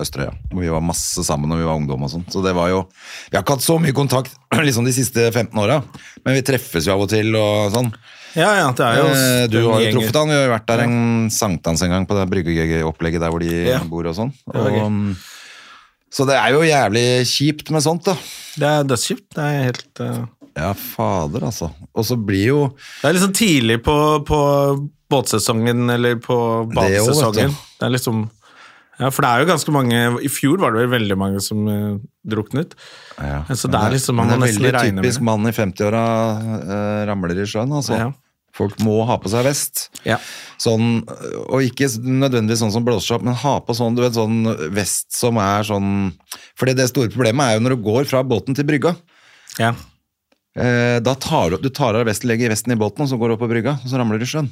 Speaker 2: Østerøya. Hvor vi var masse sammen når vi var ungdom og sånn. Så det var jo Vi har ikke hatt så mye kontakt liksom de siste 15 åra, men vi treffes jo av og til og sånn.
Speaker 1: ja, ja det er jo
Speaker 2: Eh, Du
Speaker 1: den
Speaker 2: har jo
Speaker 1: gjengen.
Speaker 2: truffet han, vi har jo vært der en sankthans en gang på det bryggegøy-opplegget der hvor de
Speaker 1: Ja.
Speaker 2: bor og sånn.
Speaker 1: var
Speaker 2: Og,
Speaker 1: gøy.
Speaker 2: mm, så det er jo jævlig kjipt med sånt, da.
Speaker 1: Det er dødskjipt. Det er helt eh,
Speaker 2: Ja, fader, altså. Og så blir jo
Speaker 1: Det er liksom tidlig på, på båtsesongen eller på
Speaker 2: Det også, vet du.
Speaker 1: badesesongen. Det er liksom Ja, for det er jo ganske mange I fjor var det vel veldig mange som eh, druknet.
Speaker 2: ja,
Speaker 1: Så
Speaker 2: men
Speaker 1: det er liksom- man
Speaker 2: men
Speaker 1: må
Speaker 2: det er
Speaker 1: nesten regne
Speaker 2: veldig
Speaker 1: med
Speaker 2: typisk
Speaker 1: det.
Speaker 2: mann i 50-åra eh, ramler i sjøen, altså.
Speaker 1: Ja.
Speaker 2: Folk må ha på seg vest.
Speaker 1: Ja.
Speaker 2: Sånn, og ikke nødvendigvis sånn som blåser seg opp, men ha på sånn, du vet, sånn vest som er sånn Fordi det store problemet er jo når du går fra båten til brygga.
Speaker 1: ja.
Speaker 2: Eh, da tar du, du tar av vesten, legger vesten i båten, og så går du opp på brygga, og så ramler du i sjøen.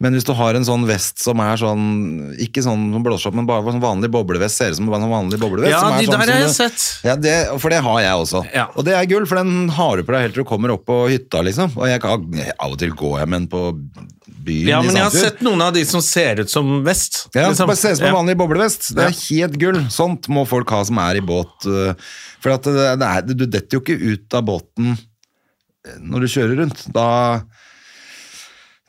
Speaker 2: Men hvis du har en sånn vest som er sånn Ikke sånn som blåser opp, men bare sånn vanlig boblevest. Ser ut som en vanlig boblevest.
Speaker 1: Ja,
Speaker 2: som er
Speaker 1: de der
Speaker 2: sånn som
Speaker 1: har jeg
Speaker 2: du-
Speaker 1: sett.
Speaker 2: Ja, det, for det har jeg også.
Speaker 1: Ja.
Speaker 2: Og det er gull, for den har du på deg helt til du kommer opp på hytta, liksom. Og jeg kan, av og til går jeg med den på byen
Speaker 1: ja,
Speaker 2: i
Speaker 1: men jeg har
Speaker 2: Sandefjord.
Speaker 1: sett noen av de som ser ut som vest.
Speaker 2: Ja,
Speaker 1: liksom.
Speaker 2: bare se ut som en
Speaker 1: Ja.
Speaker 2: vanlig boblevest. Det er helt gull. Sånt må folk eh, ha som er i båt. øh, For at det, det er, du detter jo ikke ut av båten når du kjører rundt. Da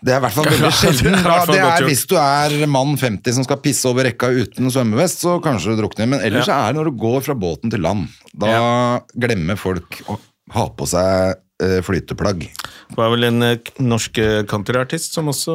Speaker 2: Det er i hvert fall veldig
Speaker 1: det er
Speaker 2: sjelden.
Speaker 1: i
Speaker 2: Da,
Speaker 1: hvert fall godt
Speaker 2: det er
Speaker 1: gjort.
Speaker 2: hvis du er mann 50 som skal pisse over rekka uten svømmevest, så kanskje du drukner. Men ellers
Speaker 1: Ja.
Speaker 2: er det når du går fra båten til land. Da glemmer folk å ha på seg eh, flyteplagg.
Speaker 1: Det var vel en eh, k- norsk eh, countryartist som også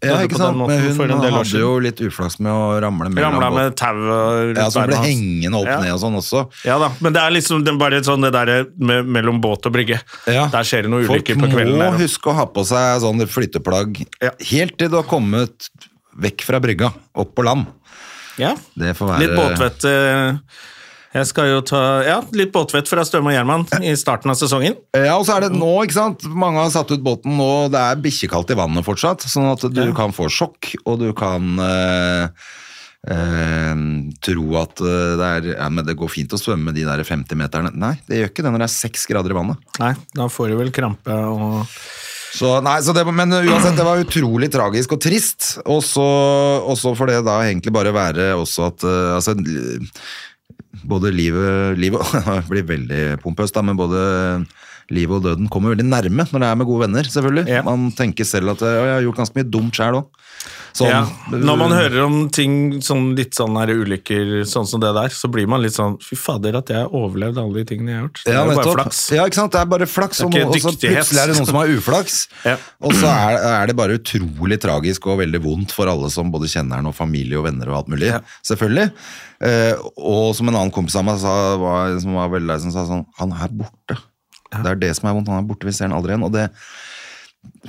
Speaker 2: Ja,
Speaker 1: døde
Speaker 2: ikke sant?
Speaker 1: måten
Speaker 2: Men
Speaker 1: for
Speaker 2: hun
Speaker 1: en del år
Speaker 2: hadde
Speaker 1: siden.
Speaker 2: jo litt uflaks med å ramle med.
Speaker 1: Ramla med tau og
Speaker 2: ja, som
Speaker 1: beina
Speaker 2: ble
Speaker 1: hans.
Speaker 2: hengende opp
Speaker 1: Ja.
Speaker 2: ned og sånn også.
Speaker 1: Ja da, men det er liksom det er bare sånn det der med, mellom båt og brygge.
Speaker 2: Ja.
Speaker 1: Der skjer det noen
Speaker 2: Folk
Speaker 1: ulykker på kvelden.
Speaker 2: må
Speaker 1: der.
Speaker 2: huske å ha på seg sånn flytteplagg
Speaker 1: Ja.
Speaker 2: helt til du har kommet vekk fra brygga, opp på land.
Speaker 1: Ja.
Speaker 2: Det får være
Speaker 1: Litt båtvett. eh, Jeg skal jo ta Ja, litt båtvett fra Støme og Gjerman i starten av sesongen.
Speaker 2: Ja, og så er det nå, ikke sant? Mange har satt ut båten nå, det er bikkjekaldt i vannet fortsatt, sånn at du kan få sjokk, og du kan eh, eh, tro at eh, det, er, ja, men det går fint å svømme de der 50 meterne. Nei, det gjør ikke det når det er 6 grader i vannet.
Speaker 1: Nei, da får du vel krampe og
Speaker 2: Så, nei, så det, men uansett, det var utrolig tragisk og trist, og så, og så får det da egentlig bare være også at, eh, altså, l- både livet, livet det blir veldig pompøst da, men både livet og døden kommer veldig nærme når det er med gode venner, selvfølgelig.
Speaker 1: Ja.
Speaker 2: Man tenker selv at eh, «Å, jeg har gjort ganske mye dumt selv også. Sånn,
Speaker 1: ja. Når man hører om ting sånn litt sånn her ulykker sånn som det der, så blir man litt sånn Fy fader, at jeg overlevde alle de tingene jeg har gjort. Det
Speaker 2: Ja,
Speaker 1: er jo bare
Speaker 2: nettopp.
Speaker 1: flaks.
Speaker 2: Ja, ikke sant? Det er bare flaks,
Speaker 1: Det er
Speaker 2: og,
Speaker 1: ikke
Speaker 2: og så
Speaker 1: dyktighet.
Speaker 2: plutselig er det noen som har uflaks.
Speaker 1: Ja.
Speaker 2: Og så er, er det bare utrolig tragisk og veldig vondt for alle som både kjenner den og familie og venner og alt mulig,
Speaker 1: Ja.
Speaker 2: selvfølgelig. Eh, og som en annen kompis av meg sa, var, som var veldig lei som sa sånn, han er borte. Det er det som er vondt, han er borte, vi ser han aldri igjen. Og det,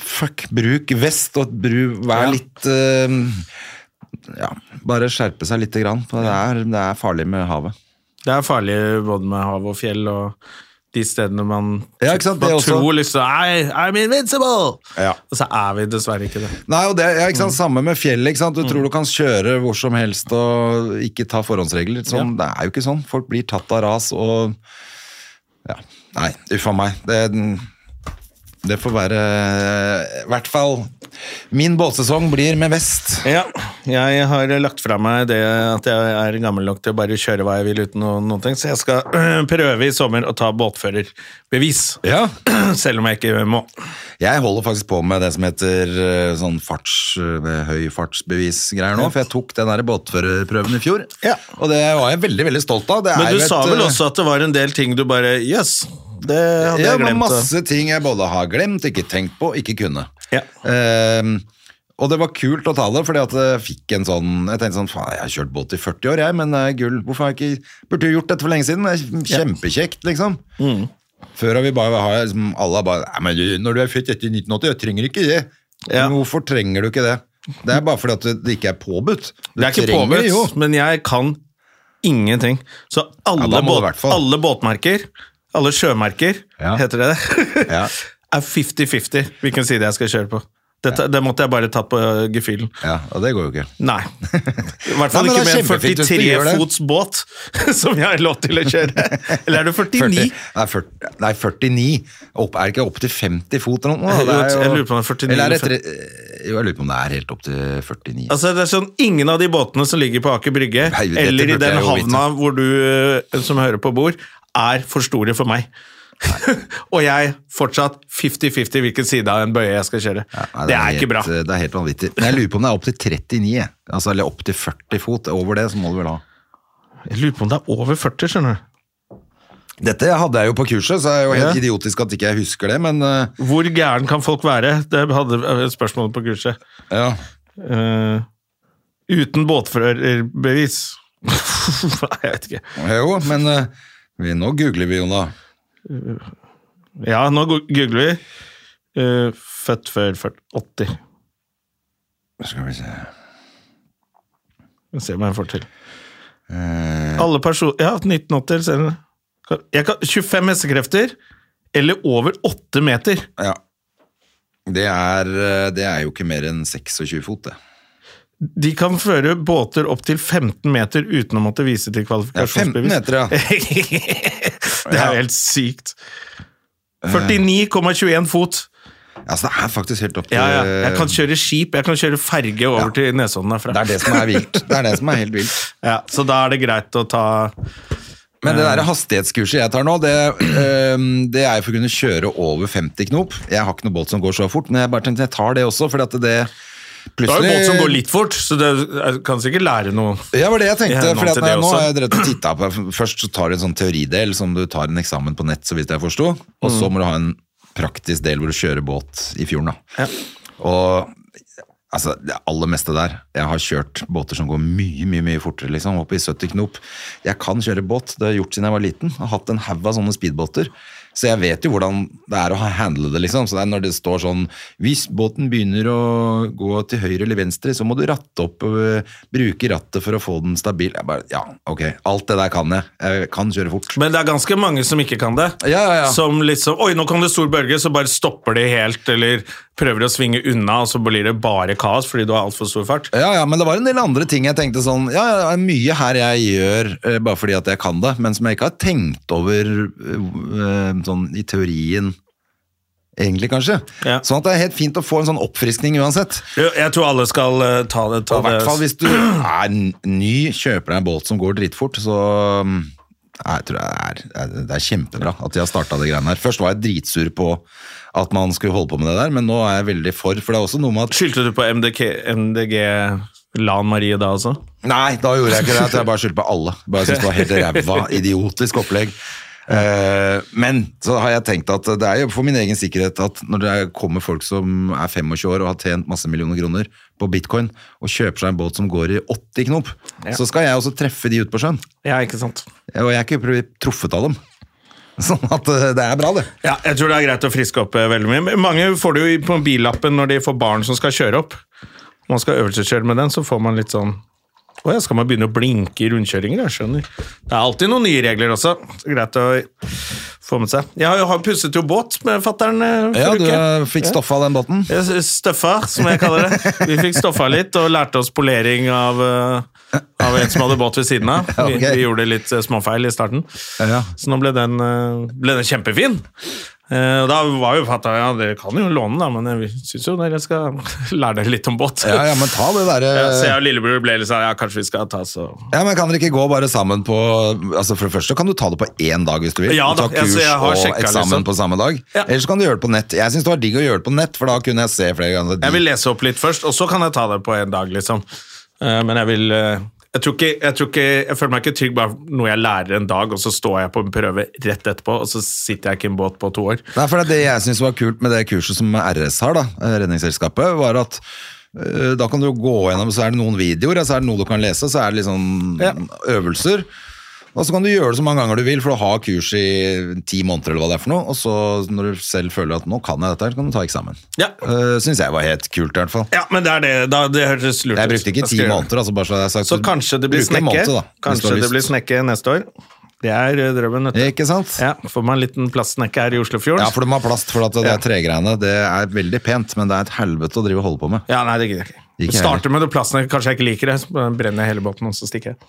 Speaker 2: fuck, bruk vest og bru, vær
Speaker 1: Ja.
Speaker 2: litt... eh, ja, bare skjerpe seg litt grann, for det er, det er farlig med havet.
Speaker 1: Det er farlig både med hav og fjell og de stedene man,
Speaker 2: Ja, ikke sant? Det
Speaker 1: man
Speaker 2: også.
Speaker 1: tror liksom I, I'm invincible!
Speaker 2: Ja.
Speaker 1: Og så er vi dessverre ikke det.
Speaker 2: Nei, og det ja, ikke
Speaker 1: Mm.
Speaker 2: sant, Samme med fjellet. ikke sant? Du tror du kan kjøre hvor som helst og ikke ta forhåndsregler. Sånn, Det er jo ikke sånn. Folk blir tatt av ras og Ja. Nei, uff a meg. Det, det får være I hvert fall Min båtsesong blir med vest.
Speaker 1: Ja, jeg har lagt fra meg det at jeg er gammel nok til å bare kjøre hva jeg vil uten noe, noen ting, så jeg skal øh, prøve i sommer å ta båtførerbevis.
Speaker 2: Ja.
Speaker 1: Selv om jeg ikke må.
Speaker 2: Jeg holder faktisk på med det som heter eh, sånn farts, eh, høyfartsbevis-greier nå, for jeg tok den der båtførerprøven i fjor.
Speaker 1: Ja.
Speaker 2: Og det var jeg veldig, veldig stolt av. Det er
Speaker 1: Men
Speaker 2: jo
Speaker 1: du sa
Speaker 2: et,
Speaker 1: vel
Speaker 2: eh,
Speaker 1: også at det var en del ting du bare Jøss, yes, det hadde
Speaker 2: Ja,
Speaker 1: jeg
Speaker 2: men
Speaker 1: glemt. å-"
Speaker 2: masse ting jeg både har glemt, ikke tenkt på, ikke kunne.
Speaker 1: Ja.
Speaker 2: Ehm, og det var kult å ta det, fordi at jeg fikk en sånn Jeg tenkte sånn, faen, jeg har kjørt båt i 40 år, jeg, men eh, gull, hvorfor har jeg ikke Burde jo gjort dette for lenge siden. Det er kjempekjekt, liksom.
Speaker 1: Mm.
Speaker 2: Før har vi bare har, liksom, alle har bare Nei, men du, når du er født etter 1980, jeg trenger ikke det.
Speaker 1: Ja.
Speaker 2: Men hvorfor trenger du ikke det? Det er bare fordi at det ikke er påbudt. Du
Speaker 1: Det er ikke
Speaker 2: trenger det jo.
Speaker 1: påbudt, men jeg kan ingenting. Så alle,
Speaker 2: Ja, da må du i
Speaker 1: båt,
Speaker 2: hvert fall.
Speaker 1: alle båtmerker, alle sjømerker,
Speaker 2: Ja.
Speaker 1: heter det det,
Speaker 2: Ja.
Speaker 1: er 50-50 hvilken side jeg skal kjøre på. Dette, Det måtte jeg bare tatt på øh, gefühlen.
Speaker 2: Ja, og det går jo ikke.
Speaker 1: Nei. I hvert
Speaker 2: Nei,
Speaker 1: fall
Speaker 2: men
Speaker 1: ikke
Speaker 2: det
Speaker 1: med
Speaker 2: er
Speaker 1: en
Speaker 2: kjempefint hvis du gjør det.
Speaker 1: 43 fots båt som jeg har lov til å kjøre. Eller er det 49?
Speaker 2: 40, nei, 40, nei, 49. Opp, er det ikke opp til 50 fot eller noe?
Speaker 1: Jeg
Speaker 2: Det er
Speaker 1: lurer- jeg lurer på om det er 49
Speaker 2: eller er
Speaker 1: eller
Speaker 2: det tre, jo, jeg lurer på om det er helt opp til 49.
Speaker 1: Altså, det er sånn, Ingen av de båtene som ligger på Aker Brygge,
Speaker 2: Nei, dette
Speaker 1: eller i
Speaker 2: burde
Speaker 1: den
Speaker 2: jeg jo vite.
Speaker 1: havna hvor du eh, som hører på bor, er for store for meg. Og jeg fortsatt 50-50 hvilken side av en bøye jeg skal kjøre.
Speaker 2: Nei,
Speaker 1: det, er ikke
Speaker 2: helt, eh,
Speaker 1: bra.
Speaker 2: Det er helt vanvittig. Men jeg lurer på om det er opp til 39, jeg. altså, eller opp til 40 fot. Over det så må du vel ha.
Speaker 1: Jeg lurer på om det er over 40, skjønner du.
Speaker 2: Dette hadde jeg jo på kurset, så jeg er jo helt
Speaker 1: Ja.
Speaker 2: idiotisk at ikke jeg husker det, men eh,
Speaker 1: Hvor gæren kan folk være? Det hadde eh, spørsmålet på kurset.
Speaker 2: ja.
Speaker 1: Eh, uten båtførerbevis. Nei, jeg vet ikke.
Speaker 2: Jo, men eh, vi, nå googler vi, Jona.
Speaker 1: Ja, nå go- googler vi. Eh, født før 40 80.
Speaker 2: Skal vi se.
Speaker 1: Vi ser hva jeg får til.
Speaker 2: Eh,
Speaker 1: Alle personer Ja, 1980, ser du. Kan- Jeg kan 25 hestekrefter, eller over 8 meter.
Speaker 2: Ja. Det er, eh, det er jo ikke mer enn 26 fot, det.
Speaker 1: De kan føre båter opp til 15 meter uten å måtte vise til
Speaker 2: Ja, 15
Speaker 1: kvalifikasjonsbevis.
Speaker 2: meter, ja.
Speaker 1: det er jo helt sykt. 49,21 fot.
Speaker 2: Altså, det er faktisk helt opp til
Speaker 1: Ja, ja. Jeg kan kjøre skip, jeg kan kjøre ferge over til Nesodden herfra.
Speaker 2: Det er det som er vilt. Det er det som er helt vilt.
Speaker 1: Ja, så da er det greit å ta
Speaker 2: Men det der hastighetskurset jeg tar nå, det, øhm, det er jo for å kunne kjøre over 50 knop. Jeg har ikke noe båt som går så fort, men jeg bare tenkte jeg tar det også, fordi at det
Speaker 1: Du har jo båt som går litt fort, så du kan sikkert lære noe.
Speaker 2: Ja, det var det jeg
Speaker 1: I
Speaker 2: tenkte.
Speaker 1: henhold
Speaker 2: Fordi at
Speaker 1: til
Speaker 2: nei,
Speaker 1: det
Speaker 2: nå
Speaker 1: også.
Speaker 2: har jeg drevet og tittet på Først så tar du en sånn teoridel som du tar en eksamen på nett, så vidt jeg forsto. Og
Speaker 1: Mm.
Speaker 2: så må du ha en praktisk del hvor du kjører båt i fjorden, da. Og altså, det aller meste der Jeg har kjørt båter som går mye, mye mye fortere, liksom. Opp i 70 knop. Jeg kan kjøre båt, det har jeg gjort siden jeg var liten. Jeg har hatt en haug av sånne speedbåter. Så jeg vet jo hvordan det er å ha- handle det, liksom. Så det er når det står sånn Hvis båten begynner å gå til høyre eller venstre, så må du ratte opp og øh, bruke rattet for å få den stabil. Jeg bare Ja, ok. Alt det der kan jeg. Jeg kan kjøre fort.
Speaker 1: Men det er ganske mange som ikke kan det.
Speaker 2: Ja, ja, ja.
Speaker 1: Som liksom Oi, nå kom det stor bølge, så bare stopper de helt, eller prøver å svinge unna, og så blir det bare kaos fordi du har altfor stor fart.
Speaker 2: Ja, ja, men det var en del andre ting jeg tenkte sånn Ja, ja, det er mye her jeg gjør eh, bare fordi at jeg kan det, men som jeg ikke har tenkt over eh, sånn i teorien, egentlig, kanskje.
Speaker 1: Ja.
Speaker 2: Sånn at det er helt fint å få en sånn oppfriskning uansett.
Speaker 1: Jeg jeg tror alle skal eh, ta det. Ta
Speaker 2: Og I hvert fall
Speaker 1: det.
Speaker 2: hvis du er n- ny, kjøper deg en båt som går dritfort, så mm, jeg tror jeg er, det er kjempebra at de har starta det greiene her. Først var jeg dritsur på at man skulle holde på med det der, men nå er jeg veldig for. For det er også noe med at
Speaker 1: Skyldte du på MDG, MDG Lan Marie da også?
Speaker 2: Nei, da gjorde jeg ikke det. at Jeg bare skyldte på alle. Bare syntes det var helt ræva, idiotisk opplegg. Eh, men så har jeg tenkt at det er jo for min egen sikkerhet at når det kommer folk som er 25 år og har tjent masse millioner kroner på bitcoin, og kjøper seg en båt som går i 80 knop, så skal jeg også treffe de ute på sjøen.
Speaker 1: Ja, ikke sant.
Speaker 2: Og jeg er ikke blitt truffet av dem. Sånn at eh, det er bra, det.
Speaker 1: Ja, jeg tror det er greit å friske opp eh, veldig mye. Men Mange får det jo i- på billappen når de får barn som skal kjøre opp. Når man skal øvelseskjøre med den, så får man litt sånn Å ja, skal man begynne å blinke i rundkjøringer? Jeg skjønner. Det er alltid noen nye regler også. Så Greit å få med seg. Jeg har jo har pusset jo båt med fatter'n eh,
Speaker 2: Ja,
Speaker 1: forrige
Speaker 2: du
Speaker 1: uke.
Speaker 2: fikk stoffa av den båten.
Speaker 1: Jeg Eh, s- Støffa, som jeg kaller det. Vi fikk stoffa litt og lærte oss polering av, eh, av en som hadde båt ved siden av. Vi,
Speaker 2: Ja, ok.
Speaker 1: vi gjorde litt eh, småfeil i starten.
Speaker 2: Ja.
Speaker 1: Så nå ble den, eh, ble den kjempefin. Eh, Og da var jo fatta ja, dere kan jo låne, den, da, men jeg syns jo dere skal lære dere litt om båt.
Speaker 2: Ja, ja, men ta det eh, derre
Speaker 1: Ja, så jeg og lillebror ble litt sånn ja, kanskje vi skal ta så
Speaker 2: Ja, men Kan dere ikke gå bare sammen på altså For det første kan du ta det på én dag hvis du vil.
Speaker 1: Ja
Speaker 2: Du
Speaker 1: da,
Speaker 2: tar kurs
Speaker 1: altså, jeg har
Speaker 2: og
Speaker 1: sjekka,
Speaker 2: eksamen
Speaker 1: liksom.
Speaker 2: på samme dag.
Speaker 1: Ja.
Speaker 2: Ellers kan du gjøre det på nett. Jeg syns det var digg å gjøre det på nett, for da kunne jeg se flere ganger.
Speaker 1: Jeg vil lese opp litt først, og så kan jeg ta det på en dag, liksom. Eh, Men jeg vil eh, jeg, tror ikke, jeg, tror ikke, jeg føler meg ikke trygg bare når jeg lærer en dag, og så står jeg på en prøve rett etterpå, og så sitter jeg ikke i en båt på to år.
Speaker 2: Nei, for det, er det jeg syns var kult med det kurset som RS har, da, eh, Redningsselskapet, var at øh, da kan du gå gjennom, så er det noen videoer, så er det noe du kan lese, så er det liksom
Speaker 1: Ja.
Speaker 2: øvelser. Og så kan du gjøre det så mange ganger du vil, for du har kurs i ti måneder eller hva det er for noe, og så når du selv føler at nå kan jeg dette, her, så kan du ta eksamen.
Speaker 1: Ja.
Speaker 2: Uh, syns jeg var helt kult i hvert fall.
Speaker 1: Ja, men det er det. Da, det høres lurt ut.
Speaker 2: Jeg brukte
Speaker 1: Da skal
Speaker 2: ikke ti
Speaker 1: jeg gjøre det.
Speaker 2: måneder, altså bare så jeg har sagt.
Speaker 1: Så kanskje det blir
Speaker 2: Bruk en
Speaker 1: snekke.
Speaker 2: måned, da, hvis du
Speaker 1: kanskje
Speaker 2: har
Speaker 1: det
Speaker 2: lyst.
Speaker 1: blir snekke neste år. Det er eh, drømmen, vet du.
Speaker 2: Ikke sant?
Speaker 1: Ja, får man en liten plastsnekke her i Oslofjorden.
Speaker 2: Ja, for de har plast, for at det
Speaker 1: Ja.
Speaker 2: er tregreiene. Det er veldig pent, men det er et helvete å drive og holde på med.
Speaker 1: Ja, nei, det gidder jeg ikke.
Speaker 2: Ikke jeg
Speaker 1: Starter med det plasten kanskje jeg ikke liker det, så brenner jeg hele båten, og så stikker jeg.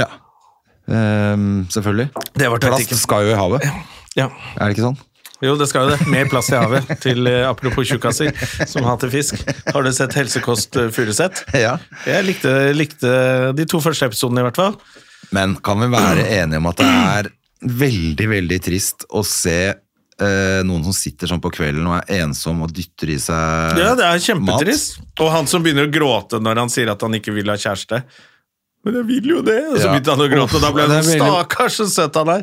Speaker 2: Ja. Ehm, selvfølgelig.
Speaker 1: Det var
Speaker 2: Plast
Speaker 1: taktikken.
Speaker 2: skal jo i havet,
Speaker 1: Ja.
Speaker 2: er det ikke sånn?
Speaker 1: Jo, det skal jo det. Mer plast i havet. Til eh, apropos tjukkaser som hater fisk. Har du sett Helsekost eh, Furuset?
Speaker 2: Ja.
Speaker 1: Jeg likte, likte de to første episodene, i hvert fall.
Speaker 2: Men kan vi være enige om at det er veldig, veldig trist å se eh, noen som sitter sånn på kvelden og er ensom og dytter i seg
Speaker 1: Ja, det er kjempetrist. Og han som begynner å gråte når han sier at han ikke vil ha kjæreste. Men jeg vil jo det! Og så
Speaker 2: Ja.
Speaker 1: begynte han å gråte, og da ble
Speaker 2: Uff,
Speaker 1: han
Speaker 2: det er
Speaker 1: sånn
Speaker 2: veldig-
Speaker 1: Stakkars, så søt han er!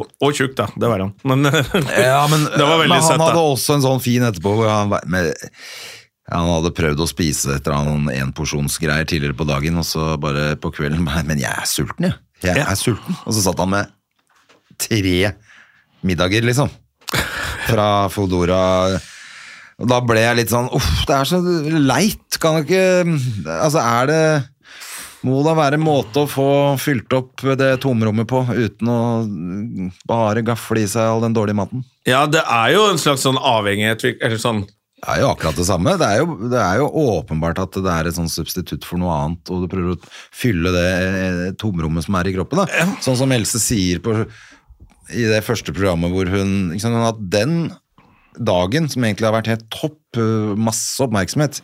Speaker 1: Og, og tjukk, da. Det var han. Men
Speaker 2: Ja, men, eh,
Speaker 1: det var veldig
Speaker 2: men han
Speaker 1: søtt, da.
Speaker 2: hadde også en sånn fin etterpå hvor han, var- med, han hadde prøvd å spise et eller annet sånn enporsjonsgreier tidligere på dagen, og så bare på kvelden bare, Men jeg er sulten, jeg. Jeg
Speaker 1: Ja.
Speaker 2: er sulten. Og så satt han med tre middager, liksom. Fra Fodora. Og da ble jeg litt sånn Uff, det er så leit. Kan du ikke Altså, er det må da være en måte å få fylt opp det tomrommet på, uten å bare gafle i seg all den dårlige maten?
Speaker 1: Ja, det er jo en slags sånn avhengighet vi- Eller sånn
Speaker 2: Det er jo akkurat det samme. Det er jo, det er jo åpenbart at det er et sånn substitutt for noe annet, og du prøver å fylle det eh, tomrommet som er i kroppen. Da. Sånn som Else sier på, i det første programmet hvor hun ikke sant, At den dagen som egentlig har vært helt topp, eh, masse oppmerksomhet,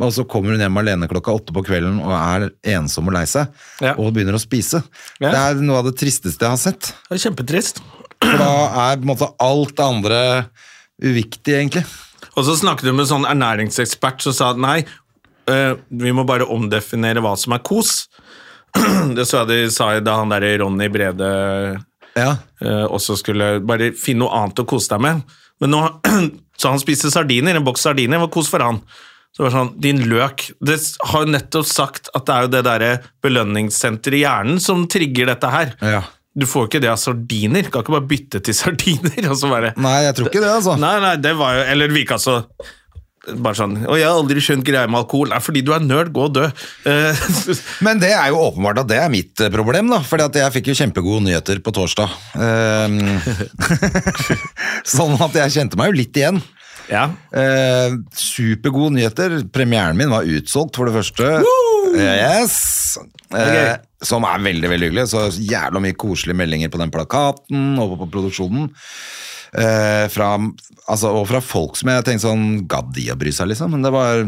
Speaker 2: Og så kommer hun hjem alene klokka åtte på kvelden og er ensom og lei seg,
Speaker 1: Ja.
Speaker 2: og begynner å spise.
Speaker 1: Ja.
Speaker 2: Det er noe av det tristeste jeg har sett.
Speaker 1: Det er kjempetrist.
Speaker 2: For da er på en måte alt det andre uviktig, egentlig.
Speaker 1: Og så snakket hun med en sånn ernæringsekspert som sa at nei, eh, vi må bare omdefinere hva som er kos. Det så jeg de sa da han der Ronny Brede
Speaker 2: Ja.
Speaker 1: eh, også skulle bare finne noe annet å kose deg med. Men nå, Så han spiste sardiner, en boks sardiner, var kos for han. Så det var sånn, Din løk Det har jo nettopp sagt at det er jo det derre belønningssenteret i hjernen som trigger dette her.
Speaker 2: Ja.
Speaker 1: Du får jo ikke det av sardiner. Kan ikke bare bytte til sardiner. og så bare...
Speaker 2: Nei, jeg tror ikke det, altså.
Speaker 1: Nei, nei, det var jo Eller det virka så Bare sånn Og jeg har aldri skjønt greia med alkohol. Nei, fordi du er nerd, gå og dø. Eh,
Speaker 2: Men det er jo åpenbart at det er mitt eh, problem, da. For jeg fikk jo kjempegode nyheter på torsdag. Ehm, sånn at jeg kjente meg jo litt igjen.
Speaker 1: ja.
Speaker 2: Eh, supergode nyheter. Premieren min var utsolgt, for det første. Eh, Yes! Eh,
Speaker 1: Ok.
Speaker 2: Som er veldig veldig hyggelig. Så jævla mye koselige meldinger på den plakaten og på produksjonen. Eh, fra, altså, og fra folk som jeg tenkte sånn Gadd de å bry seg, liksom? Men det var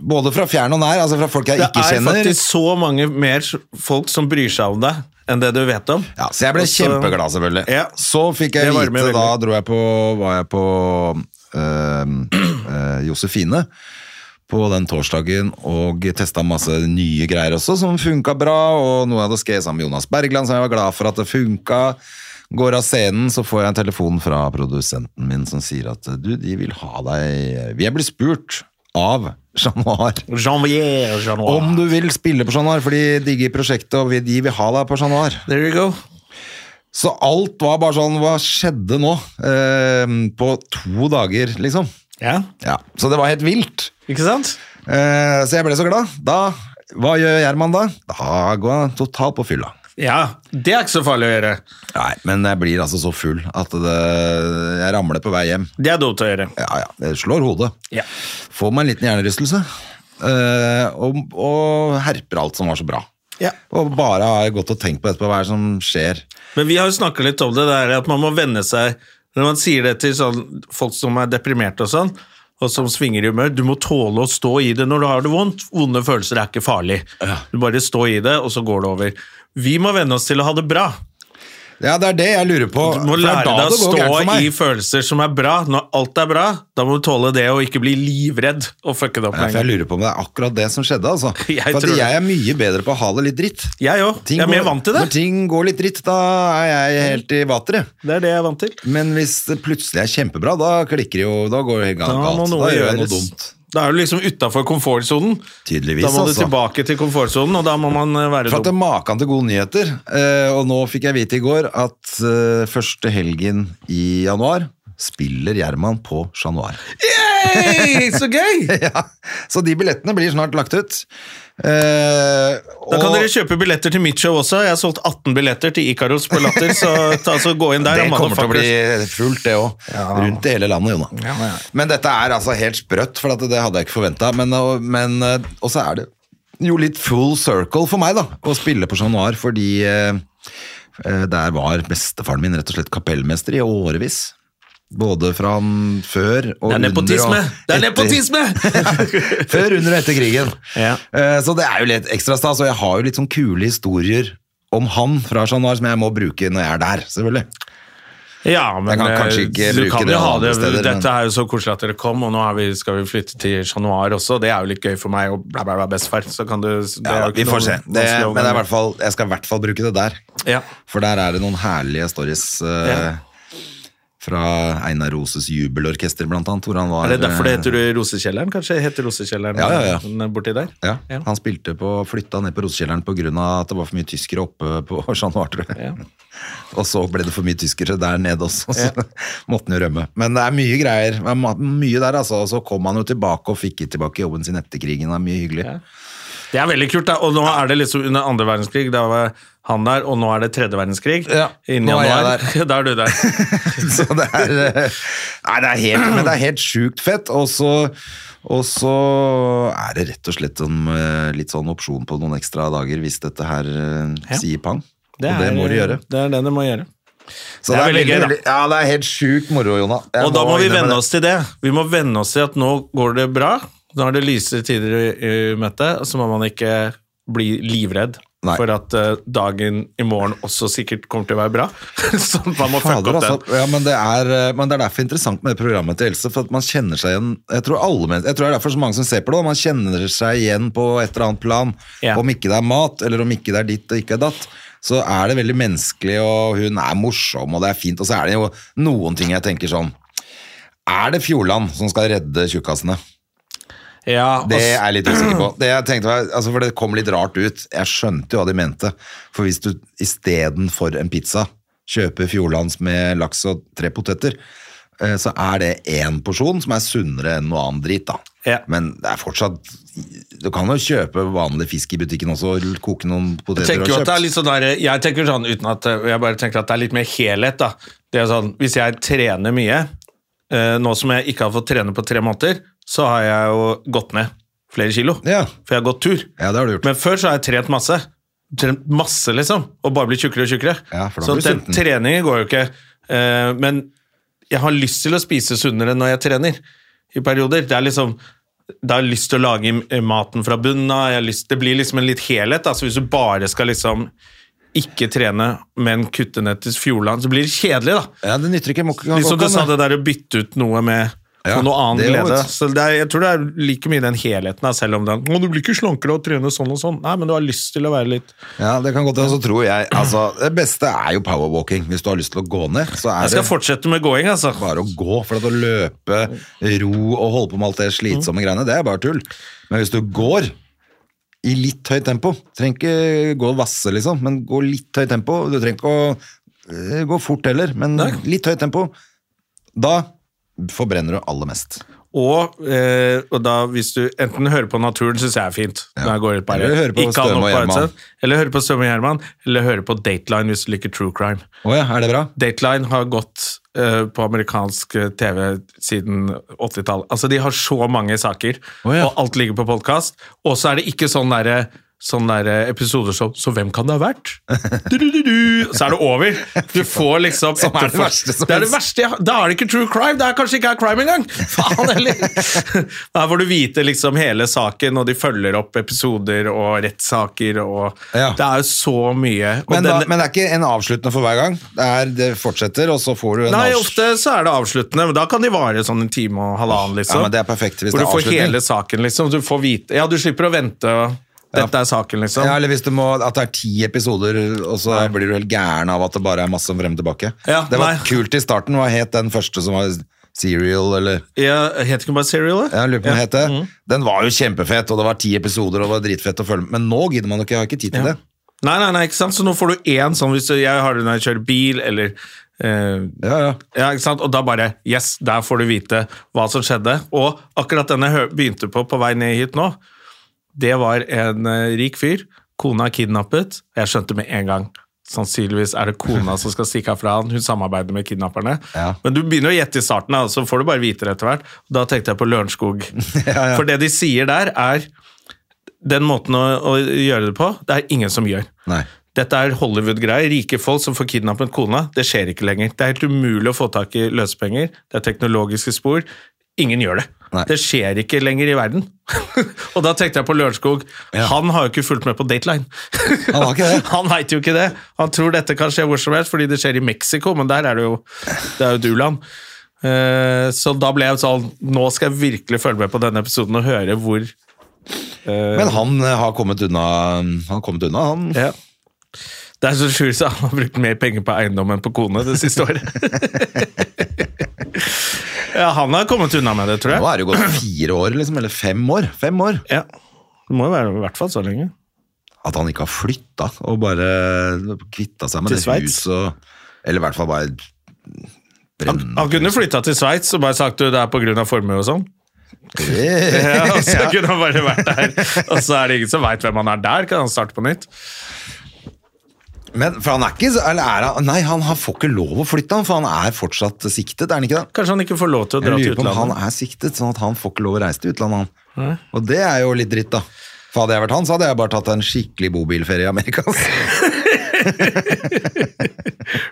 Speaker 2: både fra fjern og nær. Altså fra folk jeg
Speaker 1: Det
Speaker 2: ikke
Speaker 1: er
Speaker 2: kjenner.
Speaker 1: faktisk så mange mer folk som bryr seg om deg, enn det du vet om.
Speaker 2: Ja, så jeg ble
Speaker 1: Og så-
Speaker 2: kjempeglad, selvfølgelig.
Speaker 1: Ja.
Speaker 2: Så fikk jeg
Speaker 1: Det
Speaker 2: vite,
Speaker 1: varmer veldig.
Speaker 2: da dro jeg på, var jeg på øhm, øh, Josefine på den torsdagen og testa masse nye greier også, som funka bra. Og noe jeg hadde skrevet sammen med Jonas Bergland, som jeg var glad for at det funka. Går av scenen, så får jeg en telefon fra produsenten min som sier at du, de vil ha deg Vi er blitt spurt av Chat Noir
Speaker 1: Janvier, Chat Noir.
Speaker 2: om du vil spille på Chat Noir, for de digger prosjektet, og vi- de vil ha deg på Chat Noir.
Speaker 1: There you go.
Speaker 2: Så alt var bare sånn, hva skjedde nå? Ehm, på to dager, liksom.
Speaker 1: Ja,
Speaker 2: Ja, så det var helt vilt.
Speaker 1: ikke sant?
Speaker 2: Eh, så jeg ble så glad. Da, hva gjør Gjerman da? Da går han totalt på fylla.
Speaker 1: Ja, det er ikke så farlig å gjøre.
Speaker 2: Nei, men jeg blir altså så full at det, jeg ramler på vei hjem.
Speaker 1: Det er dumt å gjøre.
Speaker 2: Ja, ja, det slår hodet.
Speaker 1: Ja.
Speaker 2: Får meg en liten hjernerystelse. Eh, og, og herper alt som var så bra.
Speaker 1: Ja.
Speaker 2: Og bare har jeg gått og tenkt på etterpå, hva er det som skjer?
Speaker 1: Men vi har jo snakket litt om det der at man må venne seg Når man sier det til sånn, folk som er deprimerte og sånn, og som svinger i humør, du må tåle å stå i det når du har det vondt. Vonde følelser er ikke farlig. Du bare stå i det, og så går det over. Vi må venne oss til å ha det bra.
Speaker 2: Ja, det er det jeg lurer på.
Speaker 1: Du må
Speaker 2: For det er
Speaker 1: lære
Speaker 2: da
Speaker 1: deg å
Speaker 2: det går gærent for
Speaker 1: stå
Speaker 2: meg.
Speaker 1: i følelser som er bra. Når alt er bra, da må du tåle det, og ikke bli livredd og fucke det opp.
Speaker 2: Ja, for jeg
Speaker 1: lenger.
Speaker 2: lurer på om det er akkurat det som skjedde. Altså.
Speaker 1: Jeg
Speaker 2: for
Speaker 1: tror
Speaker 2: at
Speaker 1: det.
Speaker 2: jeg er mye bedre på å ha det litt dritt.
Speaker 1: Jeg òg.
Speaker 2: Ting
Speaker 1: Jeg er mer
Speaker 2: går-
Speaker 1: vant til
Speaker 2: Når
Speaker 1: det.
Speaker 2: ting går litt dritt, da er jeg helt i vateret.
Speaker 1: Det er det jeg er vant til.
Speaker 2: Men hvis det plutselig er kjempebra, da klikker det jo Da går det helt
Speaker 1: Da må
Speaker 2: galt. Da,
Speaker 1: noe
Speaker 2: gjør jeg noe
Speaker 1: gjøres.
Speaker 2: dumt.
Speaker 1: Da er du liksom utafor komfortsonen.
Speaker 2: Tydeligvis,
Speaker 1: Da må du
Speaker 2: altså.
Speaker 1: tilbake til komfortsonen, og da må man eh, være
Speaker 2: For at det
Speaker 1: dum.
Speaker 2: er maken til gode nyheter. Eh, og nå fikk jeg vite i går at eh, første helgen i januar spiller Gjerman på Chat Noir.
Speaker 1: Yay! Så gøy!
Speaker 2: ja. Så de billettene blir snart lagt ut. Eh,
Speaker 1: Da kan
Speaker 2: og-
Speaker 1: dere kjøpe billetter til mitt show også. Jeg har solgt 18 billetter til Ikaros på Latter, så ta, altså, gå inn der.
Speaker 2: Det
Speaker 1: da,
Speaker 2: kommer til å bli
Speaker 1: motherfuckers.
Speaker 2: fullt, det òg. Rundt i hele landet, Jonna. Men dette er altså helt sprøtt, for at det hadde jeg ikke forventa. Men, og- men, eh, og så er det jo litt full circle for meg, da, å spille på Chat Noir, fordi eh, eh, der var bestefaren min rett og slett kapellmester i årevis. Både fra han før og
Speaker 1: Det er nepotisme!
Speaker 2: under og
Speaker 1: Det er
Speaker 2: etter-
Speaker 1: nepotisme!
Speaker 2: før, under og etter krigen.
Speaker 1: Ja.
Speaker 2: Eh, Så det er jo litt ekstra stas, og jeg har jo litt sånn kule historier om han fra Chat Noir som jeg må bruke når jeg er der, selvfølgelig.
Speaker 1: Ja, men
Speaker 2: kan
Speaker 1: eh,
Speaker 2: kanskje ikke
Speaker 1: du
Speaker 2: bruke
Speaker 1: kan
Speaker 2: det
Speaker 1: jo ha
Speaker 2: alle
Speaker 1: det.
Speaker 2: steder, men-
Speaker 1: Dette er jo så koselig at dere kom, og nå er vi, skal vi flytte til Chat Noir også. Det er jo litt gøy for meg og bla, bla, bla, bestefar. Så kan du det er
Speaker 2: Ja,
Speaker 1: jo ikke
Speaker 2: vi får
Speaker 1: noe
Speaker 2: se.
Speaker 1: vanskelig
Speaker 2: Det, men det er i
Speaker 1: overgang.
Speaker 2: hvert fall, jeg skal i hvert fall bruke det der.
Speaker 1: Ja.
Speaker 2: For der er det noen herlige stories eh,
Speaker 1: Ja.
Speaker 2: fra Einar Roses jubelorkester, blant annet. Hvor han var,
Speaker 1: Er det derfor det
Speaker 2: eh,
Speaker 1: heter Rosekjelleren, kanskje? Heter Rosekjelleren eh,
Speaker 2: Ja, ja, ja.
Speaker 1: den borti der?
Speaker 2: eh, ja,
Speaker 1: Ja.
Speaker 2: Han spilte på, flytta ned på Rosekjelleren pga. at det var for mye tyskere oppe på Chat Noir, tror jeg.
Speaker 1: Ja.
Speaker 2: Og så ble det for mye tyskere der nede også, så måtte han jo rømme. Men det er mye greier. Det er ma- Mye der, altså. Og så kom han jo tilbake og fikk tilbake jobben sin etter krigen. Det er mye hyggelig.
Speaker 1: Det er veldig kult, da. Og nå er det liksom under andre verdenskrig, da var han der, og nå er det tredje verdenskrig.
Speaker 2: Ja,
Speaker 1: Innen
Speaker 2: nå er jeg
Speaker 1: januar. Da er du der.
Speaker 2: Så det er eh, Nei, det er helt, men det er helt sjukt fett. Og så, og så er det rett og slett en eh, litt sånn opsjon på noen ekstra dager hvis dette her eh,
Speaker 1: Ja.
Speaker 2: sier pang. og det må du gjøre.
Speaker 1: Det er det du må gjøre. det
Speaker 2: Så det
Speaker 1: er
Speaker 2: er,
Speaker 1: veldig gøy, da.
Speaker 2: veldig- Ja, det er helt sjukt moro, Jonna. Jeg
Speaker 1: Og da må vi
Speaker 2: innrømme
Speaker 1: venne
Speaker 2: det.
Speaker 1: oss til det. Vi må venne oss til at nå går det bra, Nå er det lyse tider i, i møte, så må man ikke bli livredd.
Speaker 2: Nei.
Speaker 1: For at eh, dagen i morgen også sikkert kommer til å være bra. så man må fucke
Speaker 2: Fader,
Speaker 1: opp den.
Speaker 2: altså. Ja, men, det er, eh, men det er derfor interessant med det programmet til Else, for at man kjenner seg igjen Jeg tror, alle, men- jeg tror det er derfor så mange som ser på det, og man kjenner seg igjen på et eller annet plan.
Speaker 1: Ja.
Speaker 2: Om ikke det er mat, eller om ikke det er ditt og ikke er datt, så er det veldig menneskelig, og hun er morsom, og det er fint, og så er det jo noen ting jeg tenker sånn Er det Fjordland som skal redde tjukkasene?
Speaker 1: Ja, og
Speaker 2: Det
Speaker 1: s-
Speaker 2: er jeg litt usikker på. Det jeg tenkte var, altså for det kom litt rart ut. Jeg skjønte jo hva de mente. For hvis du istedenfor en pizza kjøper Fjordlands med laks og tre poteter, eh, så er det én porsjon som er sunnere enn noe annet drit, da.
Speaker 1: Ja.
Speaker 2: Men det er fortsatt Du kan jo kjøpe vanlig fisk i butikken også, og koke noen
Speaker 1: Jeg
Speaker 2: poteter og
Speaker 1: tenker jo at det er
Speaker 2: kjøpe.
Speaker 1: litt sånn der, jeg tenker sånn uten at jeg bare tenker at det er litt mer helhet. da. Det er sånn, Hvis jeg trener mye, eh, nå som jeg ikke har fått trene på tre måneder, så har jeg jo gått ned flere kilo.
Speaker 2: Ja.
Speaker 1: For jeg har gått tur.
Speaker 2: Ja, det har du gjort.
Speaker 1: Men før så har jeg trent masse. Trent masse, liksom. Og bare blitt tjukkere og tjukkere.
Speaker 2: Ja, for da
Speaker 1: så
Speaker 2: blir du
Speaker 1: den
Speaker 2: sulten.
Speaker 1: treningen går jo ikke. Eh, Men jeg har lyst til å spise sunnere når jeg trener. I perioder. Det er liksom da har jeg lyst til å lage eh, maten fra bunnen av. jeg har lyst- Det blir liksom en litt helhet. da. Så hvis du bare skal liksom ikke trene, men kutte ned til Fjordland, så blir det kjedelig, da.
Speaker 2: Ja, det nytter ikke. Må, ikke-
Speaker 1: Litt som du
Speaker 2: kan-
Speaker 1: sa det der å bytte ut noe med
Speaker 2: Ja,
Speaker 1: og noe annen
Speaker 2: det er jo
Speaker 1: glede.
Speaker 2: et-
Speaker 1: Så det er, jeg tror det er like mye den helheten, da, selv om den «Å, 'Du blir ikke slankere av å trene sånn og sånn'. Nei, men du har lyst til å være litt
Speaker 2: Ja, det kan godt hende. Så tror jeg altså, Det beste er jo powerwalking. Hvis du har lyst til å gå ned, så er
Speaker 1: Jeg skal
Speaker 2: det
Speaker 1: fortsette med gåing, altså.
Speaker 2: bare å gå, for at å løpe, ro og holde på med alt det slitsomme greiene, det er bare tull. Men hvis du går i litt høyt tempo, trenger ikke gå vasse liksom, men gå litt høyt tempo, du trenger ikke å eh, gå fort heller, men litt høyt tempo, da forbrenner du aller mest.
Speaker 1: Og, eh, og da hvis du enten hører på naturen, syns jeg er fint. Når jeg går ut bare,
Speaker 2: Eller hører på
Speaker 1: Ikke ha noe
Speaker 2: Støme og
Speaker 1: på
Speaker 2: Gjerman.
Speaker 1: headset. Eller hører på Støme og Gjerman, eller hører på Dateline hvis du liker true crime.
Speaker 2: Åja, er det bra?
Speaker 1: Dateline har gått eh, på amerikansk eh, TV siden 80-tallet. Altså, de har så mange saker,
Speaker 2: Å, ja.
Speaker 1: og alt ligger på podkast. Og så er det ikke sånn derre Sånne der episoder som Så hvem kan det ha vært? Du, du, du, du. Så er det over. Du får liksom
Speaker 2: Som er det
Speaker 1: etterforsk-
Speaker 2: verste som
Speaker 1: Det er det
Speaker 2: finnes.
Speaker 1: verste. jeg har- Da er det ikke true crime. Det er kanskje ikke er crime engang! Faen heller! Der får du vite liksom hele saken, og de følger opp episoder og rettssaker og
Speaker 2: Ja.
Speaker 1: Det er jo så mye. Og
Speaker 2: Men, da,
Speaker 1: denne-
Speaker 2: men det er ikke en avsluttende for hver gang. Det, er, det fortsetter, og så får du en
Speaker 1: Nei,
Speaker 2: avs-
Speaker 1: ofte så er det avsluttende, men da kan de vare sånn en time og halvannen, liksom.
Speaker 2: Ja, men det er perfekt hvis
Speaker 1: Hvor
Speaker 2: det er
Speaker 1: du får
Speaker 2: avslutning.
Speaker 1: hele saken, liksom. Du får vite Ja, du slipper å vente. og Dette er saken, liksom.
Speaker 2: Ja, eller hvis du må, at det er ti episoder, og så blir du helt gæren av at det bare er masse frem og tilbake.
Speaker 1: Ja,
Speaker 2: det var
Speaker 1: nei.
Speaker 2: kult i starten, hva het den første som var Serial, eller
Speaker 1: Jeg heter ikke bare Serial, det?
Speaker 2: jeg lurer på hva den het.
Speaker 1: Mhm.
Speaker 2: det. Den var jo kjempefett, og det var ti episoder, og det var dritfett å følge med. Men nå gidder man jo ikke, jeg har ikke tid til det.
Speaker 1: Nei, nei, nei, ikke sant. Så nå får du én sånn hvis du, jeg har det når jeg kjører bil, eller eh,
Speaker 2: Ja, ja.
Speaker 1: Ja, ikke sant? Og da bare Yes, der får du vite hva som skjedde. Og akkurat den jeg hø- begynte på på vei ned hit nå, det var en eh, rik fyr. Kona er kidnappet. Jeg skjønte med en gang. Sannsynligvis er det kona som skal stikke herfra. han. Hun samarbeider med kidnapperne.
Speaker 2: Ja.
Speaker 1: Men du begynner å gjette i starten, da, så får du bare vite det etter hvert. Da tenkte jeg på Lørenskog. For det de sier der, er Den måten å, å gjøre det på, det er ingen som gjør.
Speaker 2: Nei.
Speaker 1: Dette er Hollywood-greier. Rike folk som får kidnappet kona. Det skjer ikke lenger. Det er helt umulig å få tak i løsepenger. Det er teknologiske spor. Ingen gjør det.
Speaker 2: Nei.
Speaker 1: Det skjer ikke lenger i verden. og da tenkte jeg på Lørenskog.
Speaker 2: Ja.
Speaker 1: Han har jo ikke fulgt med på Dateline.
Speaker 2: Han har ikke det.
Speaker 1: Han vet jo ikke det. Han tror dette kan skje hvor som helst, fordi det skjer i Mexico, men der er det jo, det er jo Duland. Eh, så da ble jeg sånn Nå skal jeg virkelig følge med på denne episoden og høre hvor
Speaker 2: Men han eh, har kommet unna, han har kommet unna, han.
Speaker 1: Ja. Det er så sjukt så han har brukt mer penger på eiendom enn på kone det siste året. ja, han har kommet unna med det, tror
Speaker 2: Nå
Speaker 1: jeg.
Speaker 2: er det jo gått fire år, liksom, eller fem år. Fem år.
Speaker 1: Ja. Det må jo være i hvert fall så lenge.
Speaker 2: At han ikke har flytta og bare kvitta seg med
Speaker 1: Til
Speaker 2: det
Speaker 1: Sveits?
Speaker 2: huset. og- Eller i hvert fall bare
Speaker 1: Han,
Speaker 2: brenne
Speaker 1: han kunne flytta til Sveits og bare sagt du, det er pga. formue og sånn.
Speaker 2: det.
Speaker 1: Ja, og så kunne han bare vært der. Og så er det ingen som veit hvem han er der, kan han starte på nytt.
Speaker 2: Men for han er ikke så- eller er han, Nei, han har- får ikke lov å flytte, han, for han er fortsatt siktet, er han ikke det?
Speaker 1: Kanskje han ikke får lov til å
Speaker 2: Jeg
Speaker 1: dra til
Speaker 2: lurer på om han
Speaker 1: utlandet.
Speaker 2: er siktet, sånn at han får ikke lov å reise til utlandet, han. Og det er jo litt dritt, da. For hadde jeg vært han, så hadde jeg bare tatt en skikkelig bobilferie i Amerika. ass.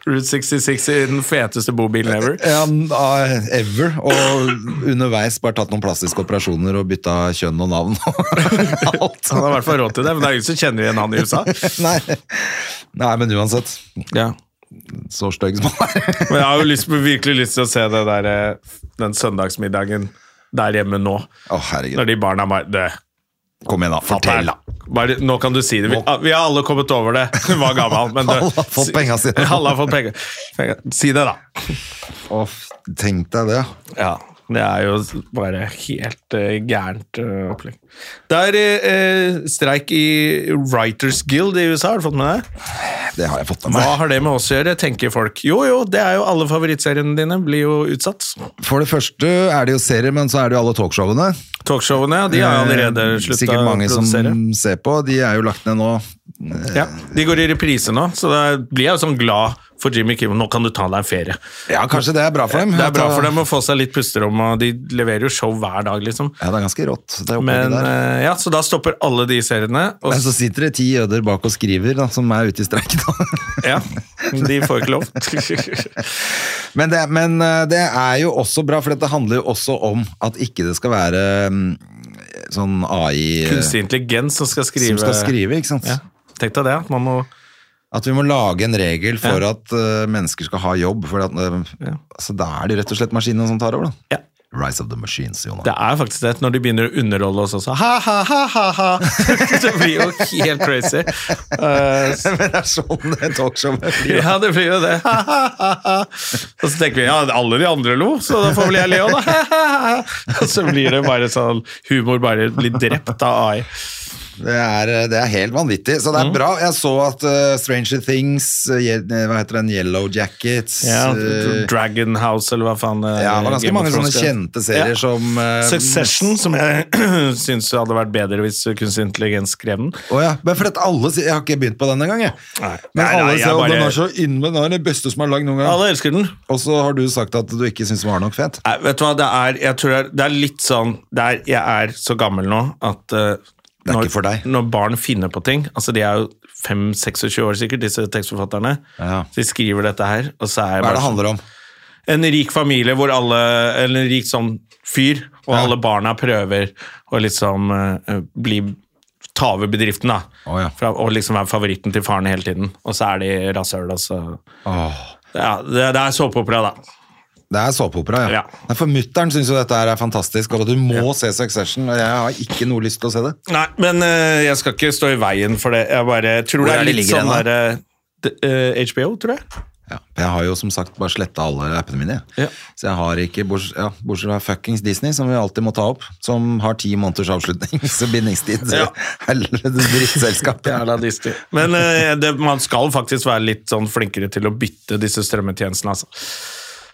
Speaker 1: Route 66 i den feteste bobilen ever.
Speaker 2: Ja, ah, ever. Og underveis bare tatt noen plastiske operasjoner og bytta kjønn og navn. Alt.
Speaker 1: Han har i hvert fall råd til det, men det er ingen som kjenner igjen han i USA.
Speaker 2: Nei. Nei, men uansett.
Speaker 1: Ja.
Speaker 2: Så stygg som han er.
Speaker 1: Men jeg har jo lyst, virkelig lyst til å se det der, eh, den søndagsmiddagen der hjemme nå.
Speaker 2: Å,
Speaker 1: Når
Speaker 2: herregud.
Speaker 1: de barna bare det,
Speaker 2: Kom igjen, da. Fortell, da.
Speaker 1: Bare, nå kan du si det. Vi, ah, vi har alle kommet over det. Hun var gammel, men
Speaker 2: Alle har fått penga sine.
Speaker 1: Alle har fått penga. penga. Si det, da.
Speaker 2: Å, f- tenk deg det.
Speaker 1: Ja. Det er jo bare helt eh, gærent eh, opplegg. Det er eh, streik i Writers Guild i USA, har du fått med deg?
Speaker 2: Det har jeg fått med
Speaker 1: Hva
Speaker 2: meg.
Speaker 1: har det med oss å gjøre, tenker folk. Jo jo, det er jo alle favorittseriene dine blir jo utsatt.
Speaker 2: For det første er det jo serier, men så er det jo alle talkshowene.
Speaker 1: Talkshowene, de har jo allerede
Speaker 2: Eh,
Speaker 1: slutta
Speaker 2: Sikkert
Speaker 1: å
Speaker 2: mange som
Speaker 1: produsere.
Speaker 2: ser på. De er jo lagt ned nå.
Speaker 1: Ja, de går i reprise nå, så da blir jeg jo sånn glad for Jimmy Kimmel. Nå kan du ta deg en ferie.
Speaker 2: Ja, kanskje det er bra for dem.
Speaker 1: Det er bra
Speaker 2: At- eh,
Speaker 1: for dem å få seg litt pusterom, og de leverer jo show hver dag, liksom.
Speaker 2: Ja, det er ganske rått. Det er
Speaker 1: Men
Speaker 2: opplegget der.
Speaker 1: eh, ja, så da stopper alle de seriene. Og,
Speaker 2: Men så sitter det ti jøder bak og skriver, da, som er ute i streik. da.
Speaker 1: ja, de får ikke lov.
Speaker 2: Men det, men eh, det er jo også bra, for det handler jo også om at ikke det skal være mm, sånn AI eh,
Speaker 1: Kunstig intelligens som skal skrive.
Speaker 2: som skal skrive, ikke sant?
Speaker 1: Ja, Tenk deg det. at Man må
Speaker 2: At vi må lage en regel for at eh, mennesker skal ha jobb. For at, eh,
Speaker 1: Ja.
Speaker 2: altså, da er det rett og slett maskinene som tar over, da.
Speaker 1: ja.
Speaker 2: Rise of the machines, Jonas.
Speaker 1: Det er faktisk det, når de begynner å underholde oss også. Ha, ha, ha, ha, ha. Det blir jo helt crazy. Eh, så-
Speaker 2: Men det er sånn det talkshowet blir.
Speaker 1: Ja, det blir jo det. Ha, ha, ha, ha. Og så tenker vi ja, alle de andre lo, så da får vel jeg le òg, da. Ha, ha, ha. Og så blir det bare sånn humor bare blir drept av AI.
Speaker 2: Det er, det er helt vanvittig, så
Speaker 1: Mm.
Speaker 2: det er bra. Jeg så at eh, Stranger Things, eh, je- hva heter den, Yellow Jackets
Speaker 1: Ja,
Speaker 2: eh,
Speaker 1: Dragon House, eller hva faen. eh,
Speaker 2: Ja, det var ganske
Speaker 1: Game of
Speaker 2: mange sånne
Speaker 1: Thrones, ja.
Speaker 2: kjente serier
Speaker 1: Ja.
Speaker 2: som eh,
Speaker 1: Succession, som jeg syns hadde vært bedre hvis kunstig intelligens skrev den.
Speaker 2: Å ja, men for at alle sier Jeg har ikke begynt på den engang, jeg.
Speaker 1: Nei. Nei,
Speaker 2: Men
Speaker 1: nei,
Speaker 2: alle
Speaker 1: jeg
Speaker 2: sier at
Speaker 1: bare-
Speaker 2: den er så innmari Den er det beste som er lagd noen gang.
Speaker 1: Alle elsker den.
Speaker 2: Og så har du sagt at du ikke syns den var nok fet.
Speaker 1: Nei, vet du hva, det er, jeg tror det er, det er litt sånn det er, Jeg er så gammel nå at eh,
Speaker 2: Det er
Speaker 1: når,
Speaker 2: ikke for deg.
Speaker 1: når barn finner på ting Altså De er jo 5-26 år sikkert, disse tekstforfatterne.
Speaker 2: Ja.
Speaker 1: Så de skriver dette her, og så er jeg
Speaker 2: Hva er
Speaker 1: bare
Speaker 2: det handler om?
Speaker 1: sånn- en rik familie hvor alle Eller en rik sånn fyr, og
Speaker 2: Ja.
Speaker 1: alle barna prøver å liksom eh, bli Ta over bedriften, da.
Speaker 2: Å, ja.
Speaker 1: Fra, og liksom være favoritten til faren hele tiden. Og så er de rasshøl, og så
Speaker 2: Åh,
Speaker 1: Ja, det, det er såpeopera, da.
Speaker 2: det er såpeopera, ja.
Speaker 1: Ja.
Speaker 2: Nei, For mutter'n syns jo dette her er fantastisk, og du må se Succession. Og jeg har ikke noe lyst til å se det.
Speaker 1: Nei, men eh, jeg skal ikke stå i veien for det. Jeg bare tror
Speaker 2: Hvor
Speaker 1: det
Speaker 2: er
Speaker 1: er
Speaker 2: det
Speaker 1: litt
Speaker 2: ligger
Speaker 1: sånn
Speaker 2: hen,
Speaker 1: der eh, d- eh, HBO, tror jeg.
Speaker 2: Ja, for jeg har jo som sagt bare sletta alle appene mine. jeg.
Speaker 1: Ja.
Speaker 2: Så jeg har ikke, borts- ja, bortsett fra fuckings Disney, som vi alltid må ta opp, som har ti måneders avslutning, så bindingstid.
Speaker 1: Ja.
Speaker 2: Ja. Helvete drittselskap.
Speaker 1: Men eh, det, man skal faktisk være litt sånn flinkere til å bytte disse strømmetjenestene, altså.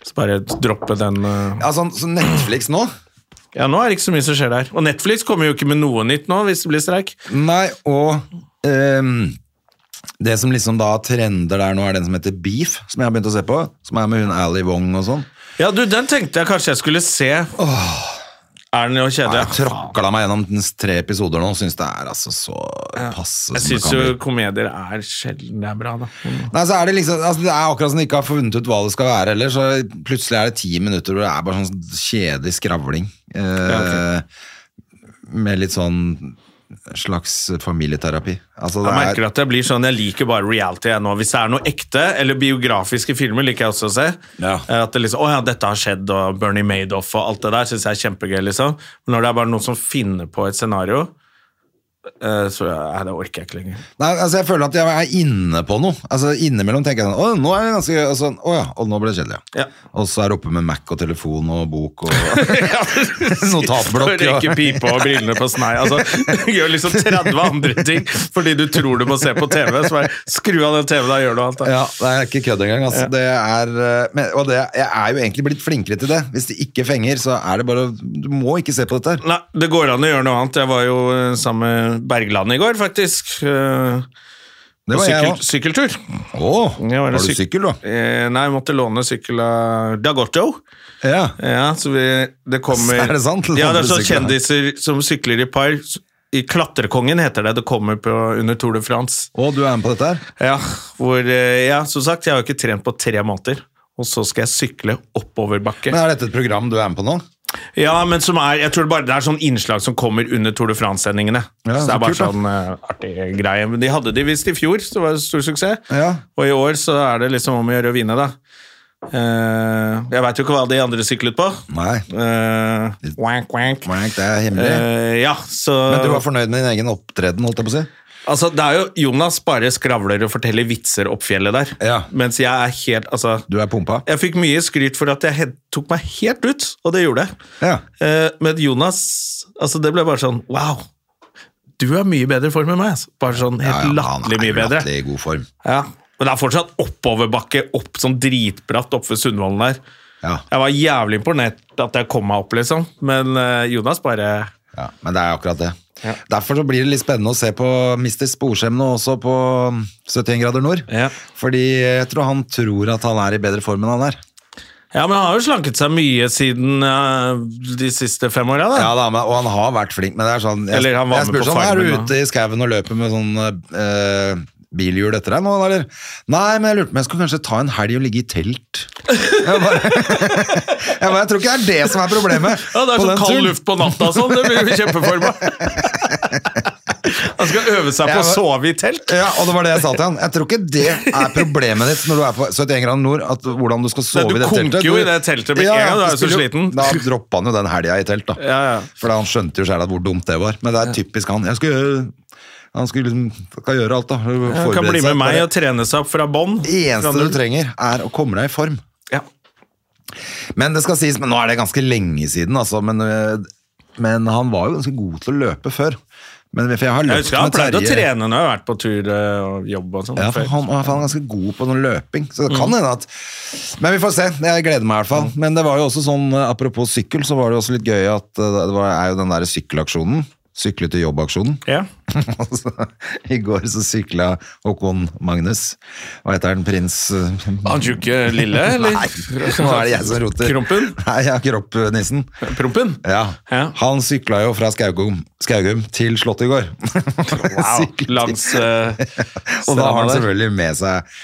Speaker 1: Så bare droppe den eh.
Speaker 2: Ja, sånn, så Netflix nå?
Speaker 1: Ja, nå er det ikke så mye som skjer der. Og Netflix kommer jo ikke med noe nytt nå, hvis det blir streik.
Speaker 2: Nei, og ehm, det som liksom da trender der nå, er den som heter Beef, som jeg har begynt å se på. Som er med hun Ali Wong og sånn.
Speaker 1: Ja, du, den tenkte jeg kanskje jeg skulle se. Er den jo
Speaker 2: Nei, Jeg
Speaker 1: kjedelig?
Speaker 2: tråkla meg gjennom den tre episoder nå, syns det er altså så
Speaker 1: Jeg
Speaker 2: passe som det
Speaker 1: syns
Speaker 2: kan
Speaker 1: jo
Speaker 2: bli.
Speaker 1: komedier er sjelden det er bra, da.
Speaker 2: Nei, så er det liksom altså, Det er akkurat som de ikke har funnet ut hva det skal være heller, så plutselig er det ti minutter hvor det er bare sånn kjedelig skravling. Eh,
Speaker 1: Ja,
Speaker 2: Med litt sånn slags familieterapi. Altså, det
Speaker 1: Jeg
Speaker 2: er-
Speaker 1: merker at jeg blir sånn, jeg liker bare reality jeg nå. Hvis det er noe ekte, eller biografiske filmer liker jeg også å se.
Speaker 2: Ja.
Speaker 1: Eh, At det liksom, å ja, dette har skjedd, og Bernie Madoff og alt det der, synes jeg er kjempegøy, liksom. Men når det er bare noen som finner på et scenario, eh, så ja, nei, det orker jeg ikke lenger.
Speaker 2: Nei, altså jeg føler at jeg er inne på noe. Altså Innimellom tenker jeg sånn Å, nå er det ganske gøy. Og, sånn, å, ja, og nå ble det kjedelig, ja.
Speaker 1: Ja.
Speaker 2: Og så er det oppe med Mac og telefon og bok og Notatblokk,
Speaker 1: Og
Speaker 2: ja.
Speaker 1: Røyke pipe og brillene på snei. Altså, gjør liksom 30 andre ting fordi du tror du må se på TV. Så bare skru av den TV-en, da gjør du alt. Da.
Speaker 2: Ja, det er ikke kødd engang. Altså. Det er, eh, men, og det, jeg er jo egentlig blitt flinkere til det. Hvis det ikke fenger, så er det bare å- Du må ikke se på dette her.
Speaker 1: Nei, det går an å gjøre noe annet. Jeg var jo eh, sammen med Bergland i går, faktisk. Eh,
Speaker 2: Det
Speaker 1: på
Speaker 2: var jeg
Speaker 1: sykkel,
Speaker 2: òg.
Speaker 1: sykkeltur. Ja, var
Speaker 2: Har
Speaker 1: det
Speaker 2: du
Speaker 1: syk-
Speaker 2: sykkel, da?
Speaker 1: Eh, nei, jeg måtte låne sykkel av Dagotto.
Speaker 2: Ja.
Speaker 1: Ja, så vi, det kommer
Speaker 2: Er det sant?
Speaker 1: Ja, det er
Speaker 2: Låner
Speaker 1: sånn
Speaker 2: sykler.
Speaker 1: kjendiser som sykler i par s- i Klatrekongen heter det. Det kommer på, under Tour de France.
Speaker 2: Og du er med på dette her?
Speaker 1: Ja, hvor, eh, ja, som sagt, jeg har jo ikke trent på tre måneder. Og så skal jeg sykle oppoverbakke.
Speaker 2: Men er dette et program du er med på nå?
Speaker 1: Ja, men som er, jeg tror det, bare, det er sånn innslag som kommer under Tour de France-sendingene. så
Speaker 2: Ja,
Speaker 1: det
Speaker 2: så
Speaker 1: er bare
Speaker 2: kult, da.
Speaker 1: sånn eh, artig greie. Men de hadde de visst i fjor, så det var en stor suksess.
Speaker 2: Ja.
Speaker 1: Og i år så er det liksom om å gjøre å vinne, da. Eh, jeg veit jo ikke hva de andre syklet på.
Speaker 2: Nei.
Speaker 1: Eh, wank, wank.
Speaker 2: Frank, Det er hemmelig.
Speaker 1: Eh, ja, så
Speaker 2: Men du var fornøyd med din egen opptreden, holdt jeg på å si?
Speaker 1: Altså, det er jo Jonas bare skravler og forteller vitser opp fjellet der.
Speaker 2: Ja.
Speaker 1: Mens jeg er helt Altså,
Speaker 2: Du er pumpa?
Speaker 1: jeg fikk mye skryt for at jeg he- tok meg helt ut, og det gjorde jeg.
Speaker 2: Ja.
Speaker 1: Eh, men Jonas, altså det ble bare sånn Wow, du er mye bedre i form enn meg. altså. Bare sånn
Speaker 2: Ja, ja,
Speaker 1: helt
Speaker 2: men
Speaker 1: latterlig mye bedre.
Speaker 2: Han er jo latterlig i god form.
Speaker 1: Ja. Men det er fortsatt oppoverbakke, opp sånn dritbratt oppe ved Sundvolden der.
Speaker 2: Ja.
Speaker 1: Jeg var jævlig imponert at jeg kom meg opp, liksom. Men eh, Jonas bare
Speaker 2: Ja, men det er akkurat det. Derfor så blir det litt spennende å se på Mr. Sporskjem nå også på 71 grader nord.
Speaker 1: Ja.
Speaker 2: Fordi jeg tror han tror at han er i bedre form enn han er.
Speaker 1: Ja, men han har jo slanket seg mye siden eh, de siste fem åra, da.
Speaker 2: Ja, da, men, Og han har vært flink, men det er sånn Jeg,
Speaker 1: Eller han var
Speaker 2: jeg
Speaker 1: med
Speaker 2: spør
Speaker 1: på
Speaker 2: sånn, er du
Speaker 1: Farmen, da."
Speaker 2: ute i skauen og løper med sånn eh, bilhjul etter deg nå, eller? Nei, men jeg lurte på om jeg skulle kanskje ta en helg og ligge i telt. Jeg bare, jeg, bare, jeg tror ikke det er det som er problemet.
Speaker 1: Ja, det er
Speaker 2: på
Speaker 1: så
Speaker 2: den
Speaker 1: kald
Speaker 2: turen.
Speaker 1: luft på natta og sånn. Det blir jo kjempeforma. Han skal øve seg på
Speaker 2: Jeg
Speaker 1: å
Speaker 2: var-
Speaker 1: sove i telt.
Speaker 2: Ja, og det var det jeg sa til han. Jeg tror ikke det er problemet ditt når du er på 71 grader nord, at hvordan du skal sove
Speaker 1: Nei, du
Speaker 2: i det
Speaker 1: konker
Speaker 2: teltet.
Speaker 1: jo i det teltet med en gang, da er du så
Speaker 2: spiller jo-
Speaker 1: sliten.
Speaker 2: Da droppa han jo den helga i telt, da.
Speaker 1: Ja, ja.
Speaker 2: For da han skjønte jo sjæl hvor dumt det var. Men det er typisk han. Jeg skulle, gjøre- han skulle liksom, skal gjøre alt, da.
Speaker 1: Han kan
Speaker 2: Forberede
Speaker 1: bli
Speaker 2: seg.
Speaker 1: med meg
Speaker 2: Bare-
Speaker 1: og trene seg opp fra bånn.
Speaker 2: Det eneste
Speaker 1: Fra
Speaker 2: du
Speaker 1: null.
Speaker 2: trenger, er å komme deg i form.
Speaker 1: Ja.
Speaker 2: Men det skal sies, men nå er det ganske lenge siden, altså. Men, øh, men han var jo ganske god til å løpe før. Men, for jeg har
Speaker 1: Jeg
Speaker 2: løpt
Speaker 1: husker han
Speaker 2: med
Speaker 1: pleide å
Speaker 2: Terje-
Speaker 1: trene når jeg har vært på tur eh, og jobb og sånn.
Speaker 2: Ja, for
Speaker 1: før. Mm.
Speaker 2: han, for han er ganske god på noe løping, så det kan hende at Men vi får se. Jeg gleder meg i hvert fall. Men det var jo også sånn, eh, apropos sykkel, så var det jo også litt gøy at eh, det var, er jo den derre sykkelaksjonen. Sykle til jobb-aksjonen.
Speaker 1: Ja.
Speaker 2: Og så, I går så sykla Håkon Magnus. Hva heter han? Prins eh,
Speaker 1: Han tjukke lille, eller?
Speaker 2: Nei, nå er det jeg som roter.
Speaker 1: Krompen?
Speaker 2: Nei, ja, Kroppnissen.
Speaker 1: Prompen?
Speaker 2: Ja.
Speaker 1: Ja.
Speaker 2: Han sykla jo fra Skaugum, Skaugum til Slottet i går.
Speaker 1: Wow.
Speaker 2: Syklet-
Speaker 1: Langs eh,
Speaker 2: og da har han
Speaker 1: stranda der.
Speaker 2: selvfølgelig med seg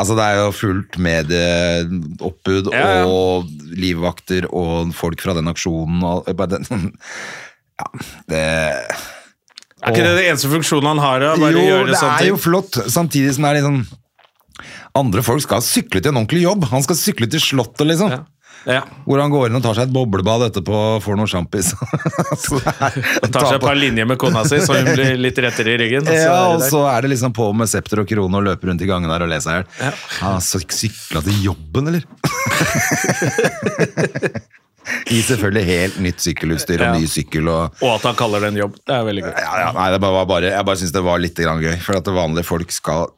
Speaker 2: Altså Det er jo fullt medieoppbud
Speaker 1: Ja, ja.
Speaker 2: og livvakter og folk fra den aksjonen og eh, bare den, Ja, det
Speaker 1: Er ikke det den eneste funksjonen han har? da? Bare
Speaker 2: Jo,
Speaker 1: gjøre
Speaker 2: det
Speaker 1: sånne
Speaker 2: er
Speaker 1: ting?
Speaker 2: jo flott, samtidig som det er liksom Andre folk skal sykle til en ordentlig jobb. Han skal sykle til Slottet, liksom.
Speaker 1: Ja.
Speaker 2: Hvor han går inn og tar seg et boblebad etterpå og får noe sjampis. Så det er-
Speaker 1: Tar seg et par linjer med kona si, så hun blir litt rettere i ryggen. og så
Speaker 2: Ja,
Speaker 1: er
Speaker 2: og
Speaker 1: det
Speaker 2: så er det liksom på med septer og krone og løper rundt i gangen der og leser her. Ja. Ah, så sykla til jobben, eller? I selvfølgelig helt nytt sykkelutstyr og
Speaker 1: Ja.
Speaker 2: ny sykkel og
Speaker 1: der. Og at han kaller det en jobb. Det er veldig gøy.
Speaker 2: ja, ja, Nei, det bare, var bare, jeg bare syns det var litt grann gøy. For at vanlige folk skal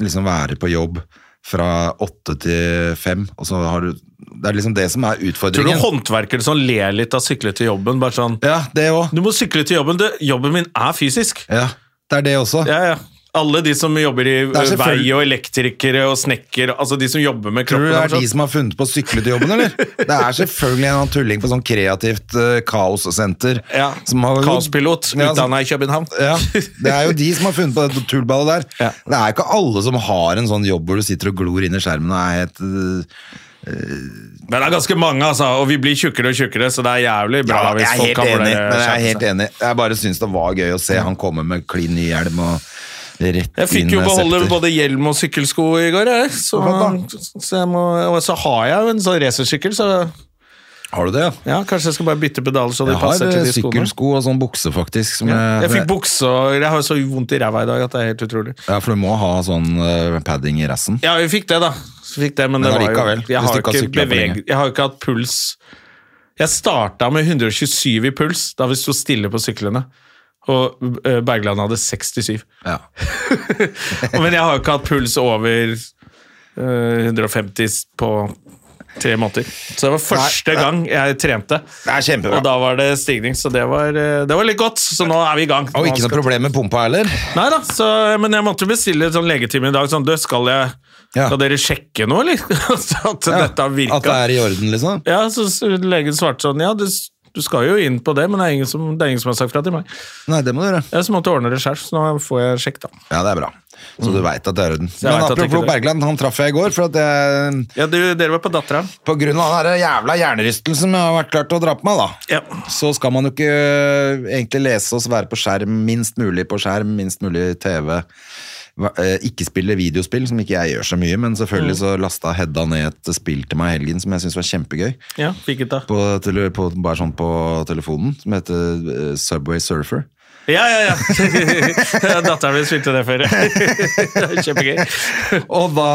Speaker 2: liksom være på jobb fra åtte til fem, og så har du Det er liksom det som er
Speaker 1: Tror du
Speaker 2: utfordringen.
Speaker 1: håndverkere som ler litt av å sykle til jobben, bare sånn
Speaker 2: Ja, det òg.
Speaker 1: Du må sykle til jobben. Du, jobben min er fysisk.
Speaker 2: Ja, det er det også.
Speaker 1: Ja, ja. Alle de som jobber i
Speaker 2: er
Speaker 1: eh, vei
Speaker 2: selvfølgelig-
Speaker 1: og elektrikere og snekker, altså de som jobber med
Speaker 2: Tror du
Speaker 1: kroppen.
Speaker 2: det
Speaker 1: og
Speaker 2: er de
Speaker 1: sånn.
Speaker 2: som har funnet på å sykle til jobben, eller? Det er selvfølgelig en eller annen tulling på sånn kreativt eh, kaossenter.
Speaker 1: ja.
Speaker 2: som har-
Speaker 1: Kaospilot,
Speaker 2: Ja, som-
Speaker 1: utdanna i København.
Speaker 2: ja, det er jo de som har funnet på det tullballet der.
Speaker 1: Ja.
Speaker 2: Det er ikke alle som har en sånn jobb hvor du sitter og glor inn i skjermen og er helt eh,
Speaker 1: Men det er ganske mange, altså, og vi blir tjukkere og tjukkere, så det er jævlig bra
Speaker 2: Ja,
Speaker 1: hvis
Speaker 2: jeg er
Speaker 1: folk
Speaker 2: helt
Speaker 1: kan altså.
Speaker 2: enig,
Speaker 1: vurdere
Speaker 2: men jeg er helt
Speaker 1: skjerpelse.
Speaker 2: enig. Jeg bare syns det var gøy å se han komme med klin ny hjelm og rett
Speaker 1: Jeg fikk
Speaker 2: inn
Speaker 1: jo
Speaker 2: med
Speaker 1: beholde
Speaker 2: eh, septer.
Speaker 1: både hjelm og sykkelsko i går, jeg. Så,
Speaker 2: Flott,
Speaker 1: så jeg må, og så har jeg jo en sånn racersykkel, så
Speaker 2: Har du det, ja?
Speaker 1: ja, kanskje jeg skal bare bytte pedaler så de
Speaker 2: Jeg har
Speaker 1: passer
Speaker 2: eh,
Speaker 1: til de skoene.
Speaker 2: sykkelsko eh, og sånn bukse, faktisk. Som
Speaker 1: Ja.
Speaker 2: jeg,
Speaker 1: Jeg fikk bukse og Jeg har jo så vondt i ræva i dag at det er helt utrolig.
Speaker 2: ja, for du må ha sånn eh, padding i rassen.
Speaker 1: Ja, vi fikk det, da. Så Fikk det, men,
Speaker 2: Men
Speaker 1: det var jo,
Speaker 2: allikevel, hvis
Speaker 1: jeg, har
Speaker 2: du ikke har
Speaker 1: ikke
Speaker 2: syklet på
Speaker 1: beveg,
Speaker 2: lenge.
Speaker 1: jeg har jo ikke hatt puls Jeg starta med 127 i puls da vi sto stille på syklene. Og eh, Bergland hadde 67.
Speaker 2: Ja.
Speaker 1: Men jeg har jo ikke hatt puls over eh, 150 på tre måneder. Så det var første
Speaker 2: Nei, nei.
Speaker 1: gang jeg trente.
Speaker 2: Det er kjempebra.
Speaker 1: Og da var det stigning, så det var, eh, det var litt godt. Så nå er vi i gang.
Speaker 2: Og
Speaker 1: Nå
Speaker 2: ikke noe
Speaker 1: skal-
Speaker 2: problem med pumpa heller.
Speaker 1: Nei da, så, men jeg måtte bestille sånn legetime i dag. Sånn, du, skal, jeg,
Speaker 2: Ja.
Speaker 1: skal dere sjekke noe, eller? Så at dette har virka.
Speaker 2: At det er i orden, liksom.
Speaker 1: Ja, så s- legen svarte sånn, ja, det s- Du skal jo inn på det, men det er ingen som, det er ingen som har sagt fra til meg.
Speaker 2: Nei, det må du gjøre.
Speaker 1: Jeg så måtte jeg ordne det selv, så nå får jeg sjekk, da.
Speaker 2: Ja, det er bra. Så du veit at det er orden.
Speaker 1: Mm. jeg
Speaker 2: Men
Speaker 1: vet at det ikke
Speaker 2: apropos
Speaker 1: er-
Speaker 2: Bergland, han traff jeg i går. For at jeg,
Speaker 1: Ja, du, Dere var på Dattera.
Speaker 2: på grunn av den der jævla hjernerystelsen jeg har vært klart å dra på meg, da.
Speaker 1: Ja.
Speaker 2: så skal man jo ikke øh, egentlig lese oss være på skjerm, minst mulig på skjerm, minst mulig TV. Hva- eh, Ikke spille videospill, som ikke jeg gjør så mye, men selvfølgelig
Speaker 1: Mm.
Speaker 2: så lasta Hedda ned et spill til meg i helgen som jeg syntes var kjempegøy.
Speaker 1: ja fikk ut da.
Speaker 2: På, tele- på, bare sånn på telefonen, som heter eh, Subway Surfer.
Speaker 1: Ja, ja, ja! Datteren min spilte det før. Det er Kjempegøy.
Speaker 2: Og da,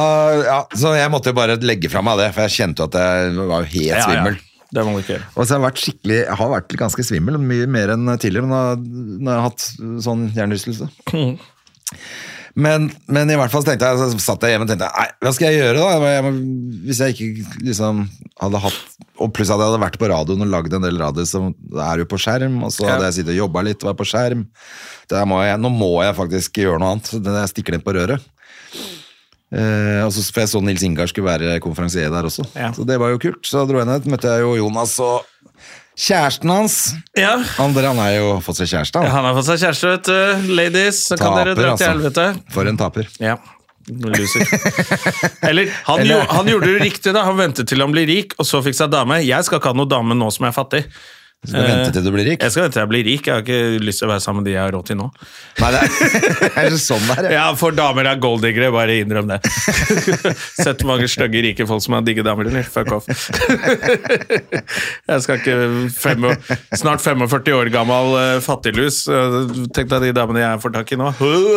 Speaker 2: ja, Så jeg måtte jo bare legge fra meg det, for jeg kjente jo at jeg var jo helt
Speaker 1: Ja, ja.
Speaker 2: svimmel.
Speaker 1: Det må du ikke gjøre.
Speaker 2: Og så har jeg vært skikkelig, jeg har vært ganske svimmel, mye mer enn tidligere, men da, når jeg har hatt sånn hjernerystelse. Men, men i hvert fall så tenkte jeg, så satt jeg hjemme og tenkte, nei, hva skal jeg gjøre da? Jeg må- Jeg må, hvis jeg ikke liksom hadde hatt, og pluss hadde jeg hadde vært på radioen og laget en del radio, så er det jo på skjerm, og så
Speaker 1: Ja.
Speaker 2: hadde jeg sittet og jobbet litt og vært på skjerm. Så jeg Må jeg, nå må jeg faktisk gjøre noe annet, så det- jeg stikker den på røret. Eh, og så, for jeg så Nils Ingar skulle være konferansier der også.
Speaker 1: Ja.
Speaker 2: Så det var jo kult. Så dro jeg ned, møtte jeg jo Jonas og kjæresten hans.
Speaker 1: Ja.
Speaker 2: Andre, han har jo fått seg kjæreste, han. altså.
Speaker 1: Han har fått seg kjæreste, vet du. Ladies, så kan dere dra til helvete.
Speaker 2: For en taper.
Speaker 1: Ja. Loser. Eller, han,
Speaker 2: Eller-
Speaker 1: gjo- han gjorde det riktig, da. Han ventet til han ble rik, og så fikk seg dame. Jeg skal ikke ha noe dame nå som jeg er fattig.
Speaker 2: Du skal vente til du blir rik.
Speaker 1: Jeg skal vente til jeg blir rik. Jeg har ikke lyst til å være sammen med de jeg har råd til nå.
Speaker 2: Nei, det er, det er ikke sånn det er.
Speaker 1: Ja, for damer er golddiggere, bare innrøm det. Sett mange stygge, rike folk som har digge damer, eller? Fuck off. Jeg skal ikke fem, Snart 45 år gammel eh, fattiglus. Eh, Tenk deg de damene jeg får tak i nå.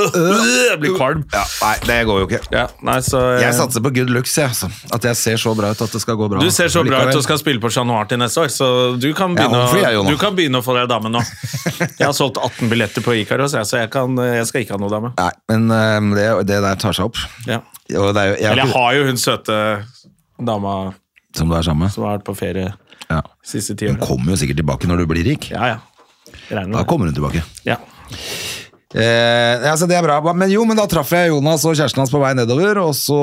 Speaker 1: Jeg blir kvalm.
Speaker 2: Ja, nei, det går jo ikke.
Speaker 1: Ja, nei, så eh,
Speaker 2: Jeg satser på good looks, jeg. Altså. At jeg ser så bra ut at det skal gå bra.
Speaker 1: Du ser så bra ut
Speaker 2: Likevel.
Speaker 1: og skal spille på Chat Noir til neste år, så du kan
Speaker 2: Jeg er
Speaker 1: begynne,
Speaker 2: homefree,
Speaker 1: å,
Speaker 2: jeg, Jonas.
Speaker 1: du kan begynne å få deg dame nå. Jeg har solgt 18 billetter på Ikaros, jeg, så jeg, kan, jeg skal ikke ha noe dame.
Speaker 2: Nei, men eh, det, det der tar seg opp.
Speaker 1: Ja.
Speaker 2: Og det er jo, jeg,
Speaker 1: Eller jeg har jo hun søte dama
Speaker 2: Som du er sammen med.
Speaker 1: som har vært på ferie
Speaker 2: Ja.
Speaker 1: siste ti
Speaker 2: Hun
Speaker 1: åra.
Speaker 2: kommer jo sikkert tilbake når du blir rik.
Speaker 1: Ja, ja. Regner med
Speaker 2: Da
Speaker 1: det.
Speaker 2: kommer hun tilbake.
Speaker 1: Ja.
Speaker 2: Eh, ja, så det er bra. Men jo, men da traff jeg Jonas og kjæresten hans på vei nedover, og så,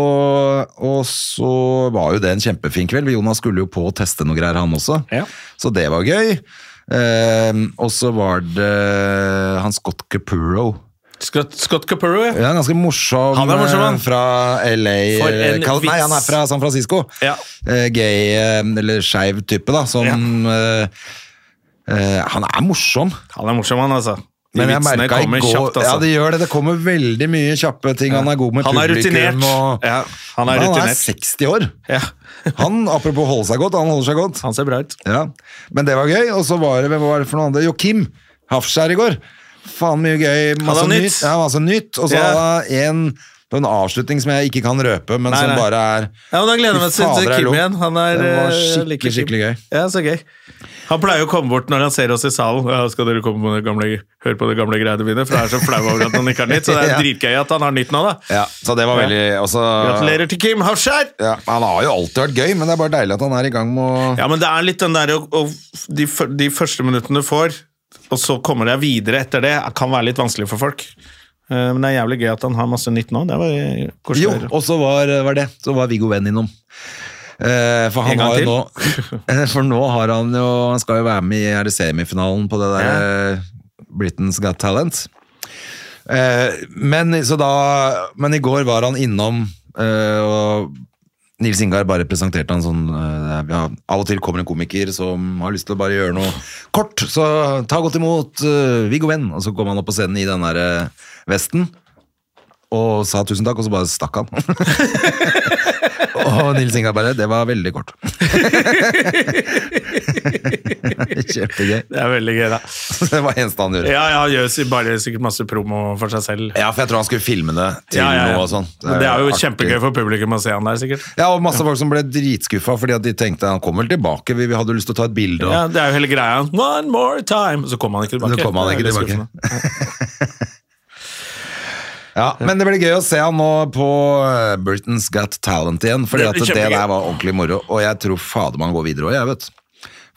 Speaker 2: og så var jo det en kjempefin kveld. Jonas skulle jo på å teste noe greier, han også.
Speaker 1: Ja.
Speaker 2: Så det var gøy. Eh, og så var det han Scott Capuro.
Speaker 1: Scott, Scott Capurro, ja.
Speaker 2: Ja, ganske morsom.
Speaker 1: Han er morsom, han.
Speaker 2: eh, Fra LA
Speaker 1: For en
Speaker 2: Kal- Nei,
Speaker 1: vits.
Speaker 2: han er fra San Francisco.
Speaker 1: Ja.
Speaker 2: Eh, gay, eh, eller skeiv type, da. Som eh, eh, Han er morsom.
Speaker 1: Han er morsom, han, altså. De
Speaker 2: Men jeg
Speaker 1: vitsene
Speaker 2: merka i
Speaker 1: kommer
Speaker 2: går
Speaker 1: kjapt,
Speaker 2: Ja, det
Speaker 1: altså.
Speaker 2: gjør det. Det kommer veldig mye kjappe ting. Han er god med
Speaker 1: Han er
Speaker 2: publikum.
Speaker 1: rutinert.
Speaker 2: Og,
Speaker 1: Ja, han er
Speaker 2: Men
Speaker 1: rutinert.
Speaker 2: 60 år.
Speaker 1: Ja.
Speaker 2: Han, apropos holde seg godt, han holder seg godt.
Speaker 1: Han ser bra ut.
Speaker 2: Ja. Men det var gøy. Og så var det hvem var det for noen andre? Jo, Kim Hafskjær i går. Faen mye gøy. Masse
Speaker 1: han
Speaker 2: nytt.
Speaker 1: nytt?
Speaker 2: Ja, masse nytt. Og så
Speaker 1: Ja.
Speaker 2: hadde han en, det var en avslutning som jeg ikke kan røpe, men
Speaker 1: Nei,
Speaker 2: som
Speaker 1: nei.
Speaker 2: bare er
Speaker 1: Ja, men Da gleder jeg meg
Speaker 2: Fy
Speaker 1: til-
Speaker 2: fader,
Speaker 1: til
Speaker 2: jeg
Speaker 1: Kim
Speaker 2: lo.
Speaker 1: igjen. Han er,
Speaker 2: Det var
Speaker 1: eh,
Speaker 2: skikkelig,
Speaker 1: like Kim.
Speaker 2: skikkelig gøy.
Speaker 1: Ja, så gøy. Han pleier jo å komme bort når han ser oss i salen. Ja, skal dere komme på det gamle, høre på det gamle greiene mine? For jeg er så flau over at han ikke har nytt. Så det er
Speaker 2: Ja.
Speaker 1: dritgøy at han har nytt nå, da.
Speaker 2: Ja, så det var veldig og så-
Speaker 1: Gratulerer til Kim Hafskjær!
Speaker 2: Ja, han har jo alltid vært gøy, men det er bare deilig at han er i gang med å
Speaker 1: Ja, men det er litt den der å- å- de, f- de første minuttene du får, og så kommer deg videre etter det, kan være litt vanskelig for folk. Eh, Men det er jævlig gøy at han har masse nytt nå. Det var eh, koselig.
Speaker 2: Jo,
Speaker 1: å høre.
Speaker 2: og så var, var det Så var Viggo Venn innom. Eh, for han
Speaker 1: En gang
Speaker 2: har jo
Speaker 1: til?
Speaker 2: nå Eh, For nå har han jo Han skal jo være med i er det semifinalen på det der eh, Britain's Got Talent. Eh, men, så da, men i går var han innom, eh, og Nils Ingar bare presenterte han sånn eh, ja, Av og til kommer en komiker som har lyst til å bare gjøre noe kort, så ta godt imot eh, Viggo Venn. Og så kom han opp på scenen i den der eh, vesten og sa tusen takk, og så bare stakk han. og Nils Ingar bare Det var veldig kort. Kjempegøy.
Speaker 1: Det er veldig gøy, da.
Speaker 2: Det var eneste han gjorde.
Speaker 1: Ja, ja, han gjør si- bare sikkert masse promo for seg selv.
Speaker 2: Ja, for jeg tror han skulle filme det til
Speaker 1: ja, ja, ja.
Speaker 2: noe og sånn.
Speaker 1: Men det er jo
Speaker 2: artig.
Speaker 1: kjempegøy for publikum å se han der, sikkert.
Speaker 2: Ja, og masse folk som ble dritskuffa fordi at de tenkte han kommer tilbake, vi, vi hadde lyst til å ta et bilde. Og...
Speaker 1: Ja, det er jo hele greia. One more time! Og så kom han ikke tilbake.
Speaker 2: Så kom han ikke
Speaker 1: Det er
Speaker 2: tilbake.
Speaker 1: skuffende.
Speaker 2: Ja, men det blir gøy å se han nå på eh, Britain's Got Talent igjen, fordi
Speaker 1: Det
Speaker 2: at
Speaker 1: blir
Speaker 2: det
Speaker 1: kjempegøy.
Speaker 2: der var ordentlig moro, og jeg tror fader man går videre også, jeg vet.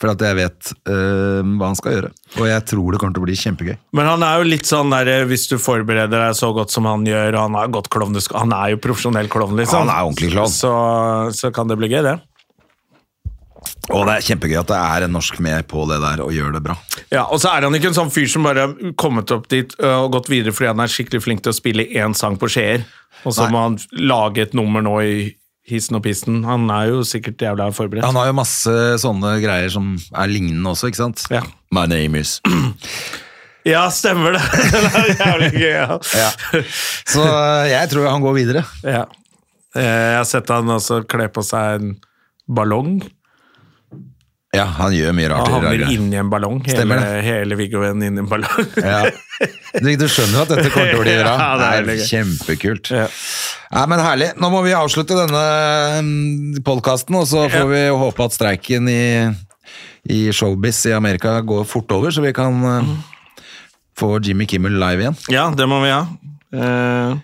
Speaker 2: For at jeg vet eh, hva han skal gjøre, og jeg tror det kommer til å bli kjempegøy.
Speaker 1: Men han er jo litt sånn der eh, hvis du forbereder deg så godt som han gjør, og han er, godt klovn, han er jo profesjonell klovn, liksom.
Speaker 2: Han er ordentlig klovn.
Speaker 1: Så, så kan det bli gøy, det.
Speaker 2: Og det er kjempegøy at det er en norsk med på det der og gjør det bra.
Speaker 1: Ja, Og så er han ikke en sånn fyr som bare har kommet opp dit ø, og gått videre fordi han er skikkelig flink til å spille én sang på Skjeer, og så
Speaker 2: Nei.
Speaker 1: må han lage et nummer nå i hissen og pisten. Han er jo sikkert jævla forberedt.
Speaker 2: Han har jo masse sånne greier som er lignende også, ikke sant?
Speaker 1: Ja.
Speaker 2: My name is
Speaker 1: Ja, stemmer det! det er jævlig gøy, ja.
Speaker 2: ja. Så eh, jeg tror han går videre.
Speaker 1: Ja. Eh, Jeg har sett han også kle på seg en ballong.
Speaker 2: Ja, han gjør mye
Speaker 1: Han
Speaker 2: rart. i det
Speaker 1: havner
Speaker 2: der.
Speaker 1: inni en ballong.
Speaker 2: Stemmer
Speaker 1: Hele,
Speaker 2: det.
Speaker 1: hele Viggo-en inni en ballong.
Speaker 2: Ja. Du, du skjønner jo at dette kommer til å bli bra.
Speaker 1: Ja, det er
Speaker 2: det er
Speaker 1: veldig
Speaker 2: kjempekult.
Speaker 1: Ja.
Speaker 2: Nei, men Herlig. Nå må vi avslutte denne podkasten, og så får
Speaker 1: Ja.
Speaker 2: vi håpe at streiken i, i showbiz i Amerika går fort over, så vi kan eh, få Jimmy Kimmel live igjen.
Speaker 1: Ja, det må vi ha. Eh,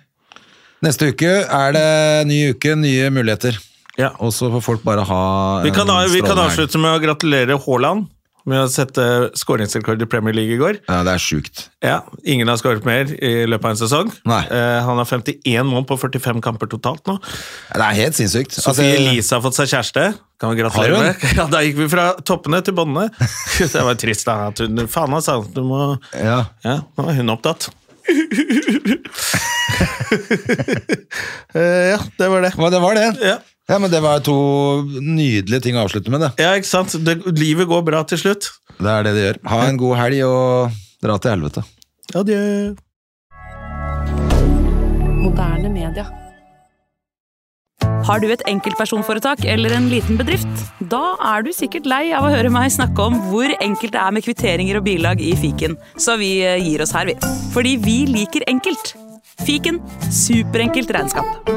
Speaker 2: Neste uke er det ny uke, nye muligheter.
Speaker 1: ja.
Speaker 2: Og så får folk bare ha
Speaker 1: Vi kan,
Speaker 2: en
Speaker 1: vi kan
Speaker 2: strålende helg.
Speaker 1: avslutte med å gratulere Haaland med å sette skåringsrekord i Premier League i går.
Speaker 2: Ja, det er sjukt.
Speaker 1: Ja, Ingen har skåret mer i løpet av en sesong.
Speaker 2: Nei.
Speaker 1: Eh, han har 51 mål på 45 kamper totalt nå.
Speaker 2: Det er helt sinnssykt.
Speaker 1: Sofie
Speaker 2: Altså,
Speaker 1: Elise har fått seg kjæreste. Kan vi gratulere
Speaker 2: Har hun?
Speaker 1: med? Ja, Da gikk vi fra toppene til båndene. Det var trist. da. At hun, faen, altså. Du må
Speaker 2: ja.
Speaker 1: Ja, nå er hun opptatt. Eh, ja, det var det.
Speaker 2: Men det var det.
Speaker 1: Ja.
Speaker 2: ja, men det var to nydelige ting å avslutte med, det.
Speaker 1: Ja, ikke sant? Det, livet går bra til slutt.
Speaker 2: Det er det det gjør. Ha en god helg, og dra til helvete.
Speaker 1: Adjø.
Speaker 3: Moderne media.
Speaker 4: Har du et enkeltpersonforetak eller en liten bedrift? Da er du sikkert lei av å høre meg snakke om hvor enkelt det er med kvitteringer og bilag i fiken, så vi eh, gir oss her, vi. Fordi vi liker enkelt. Fiken superenkelt regnskap.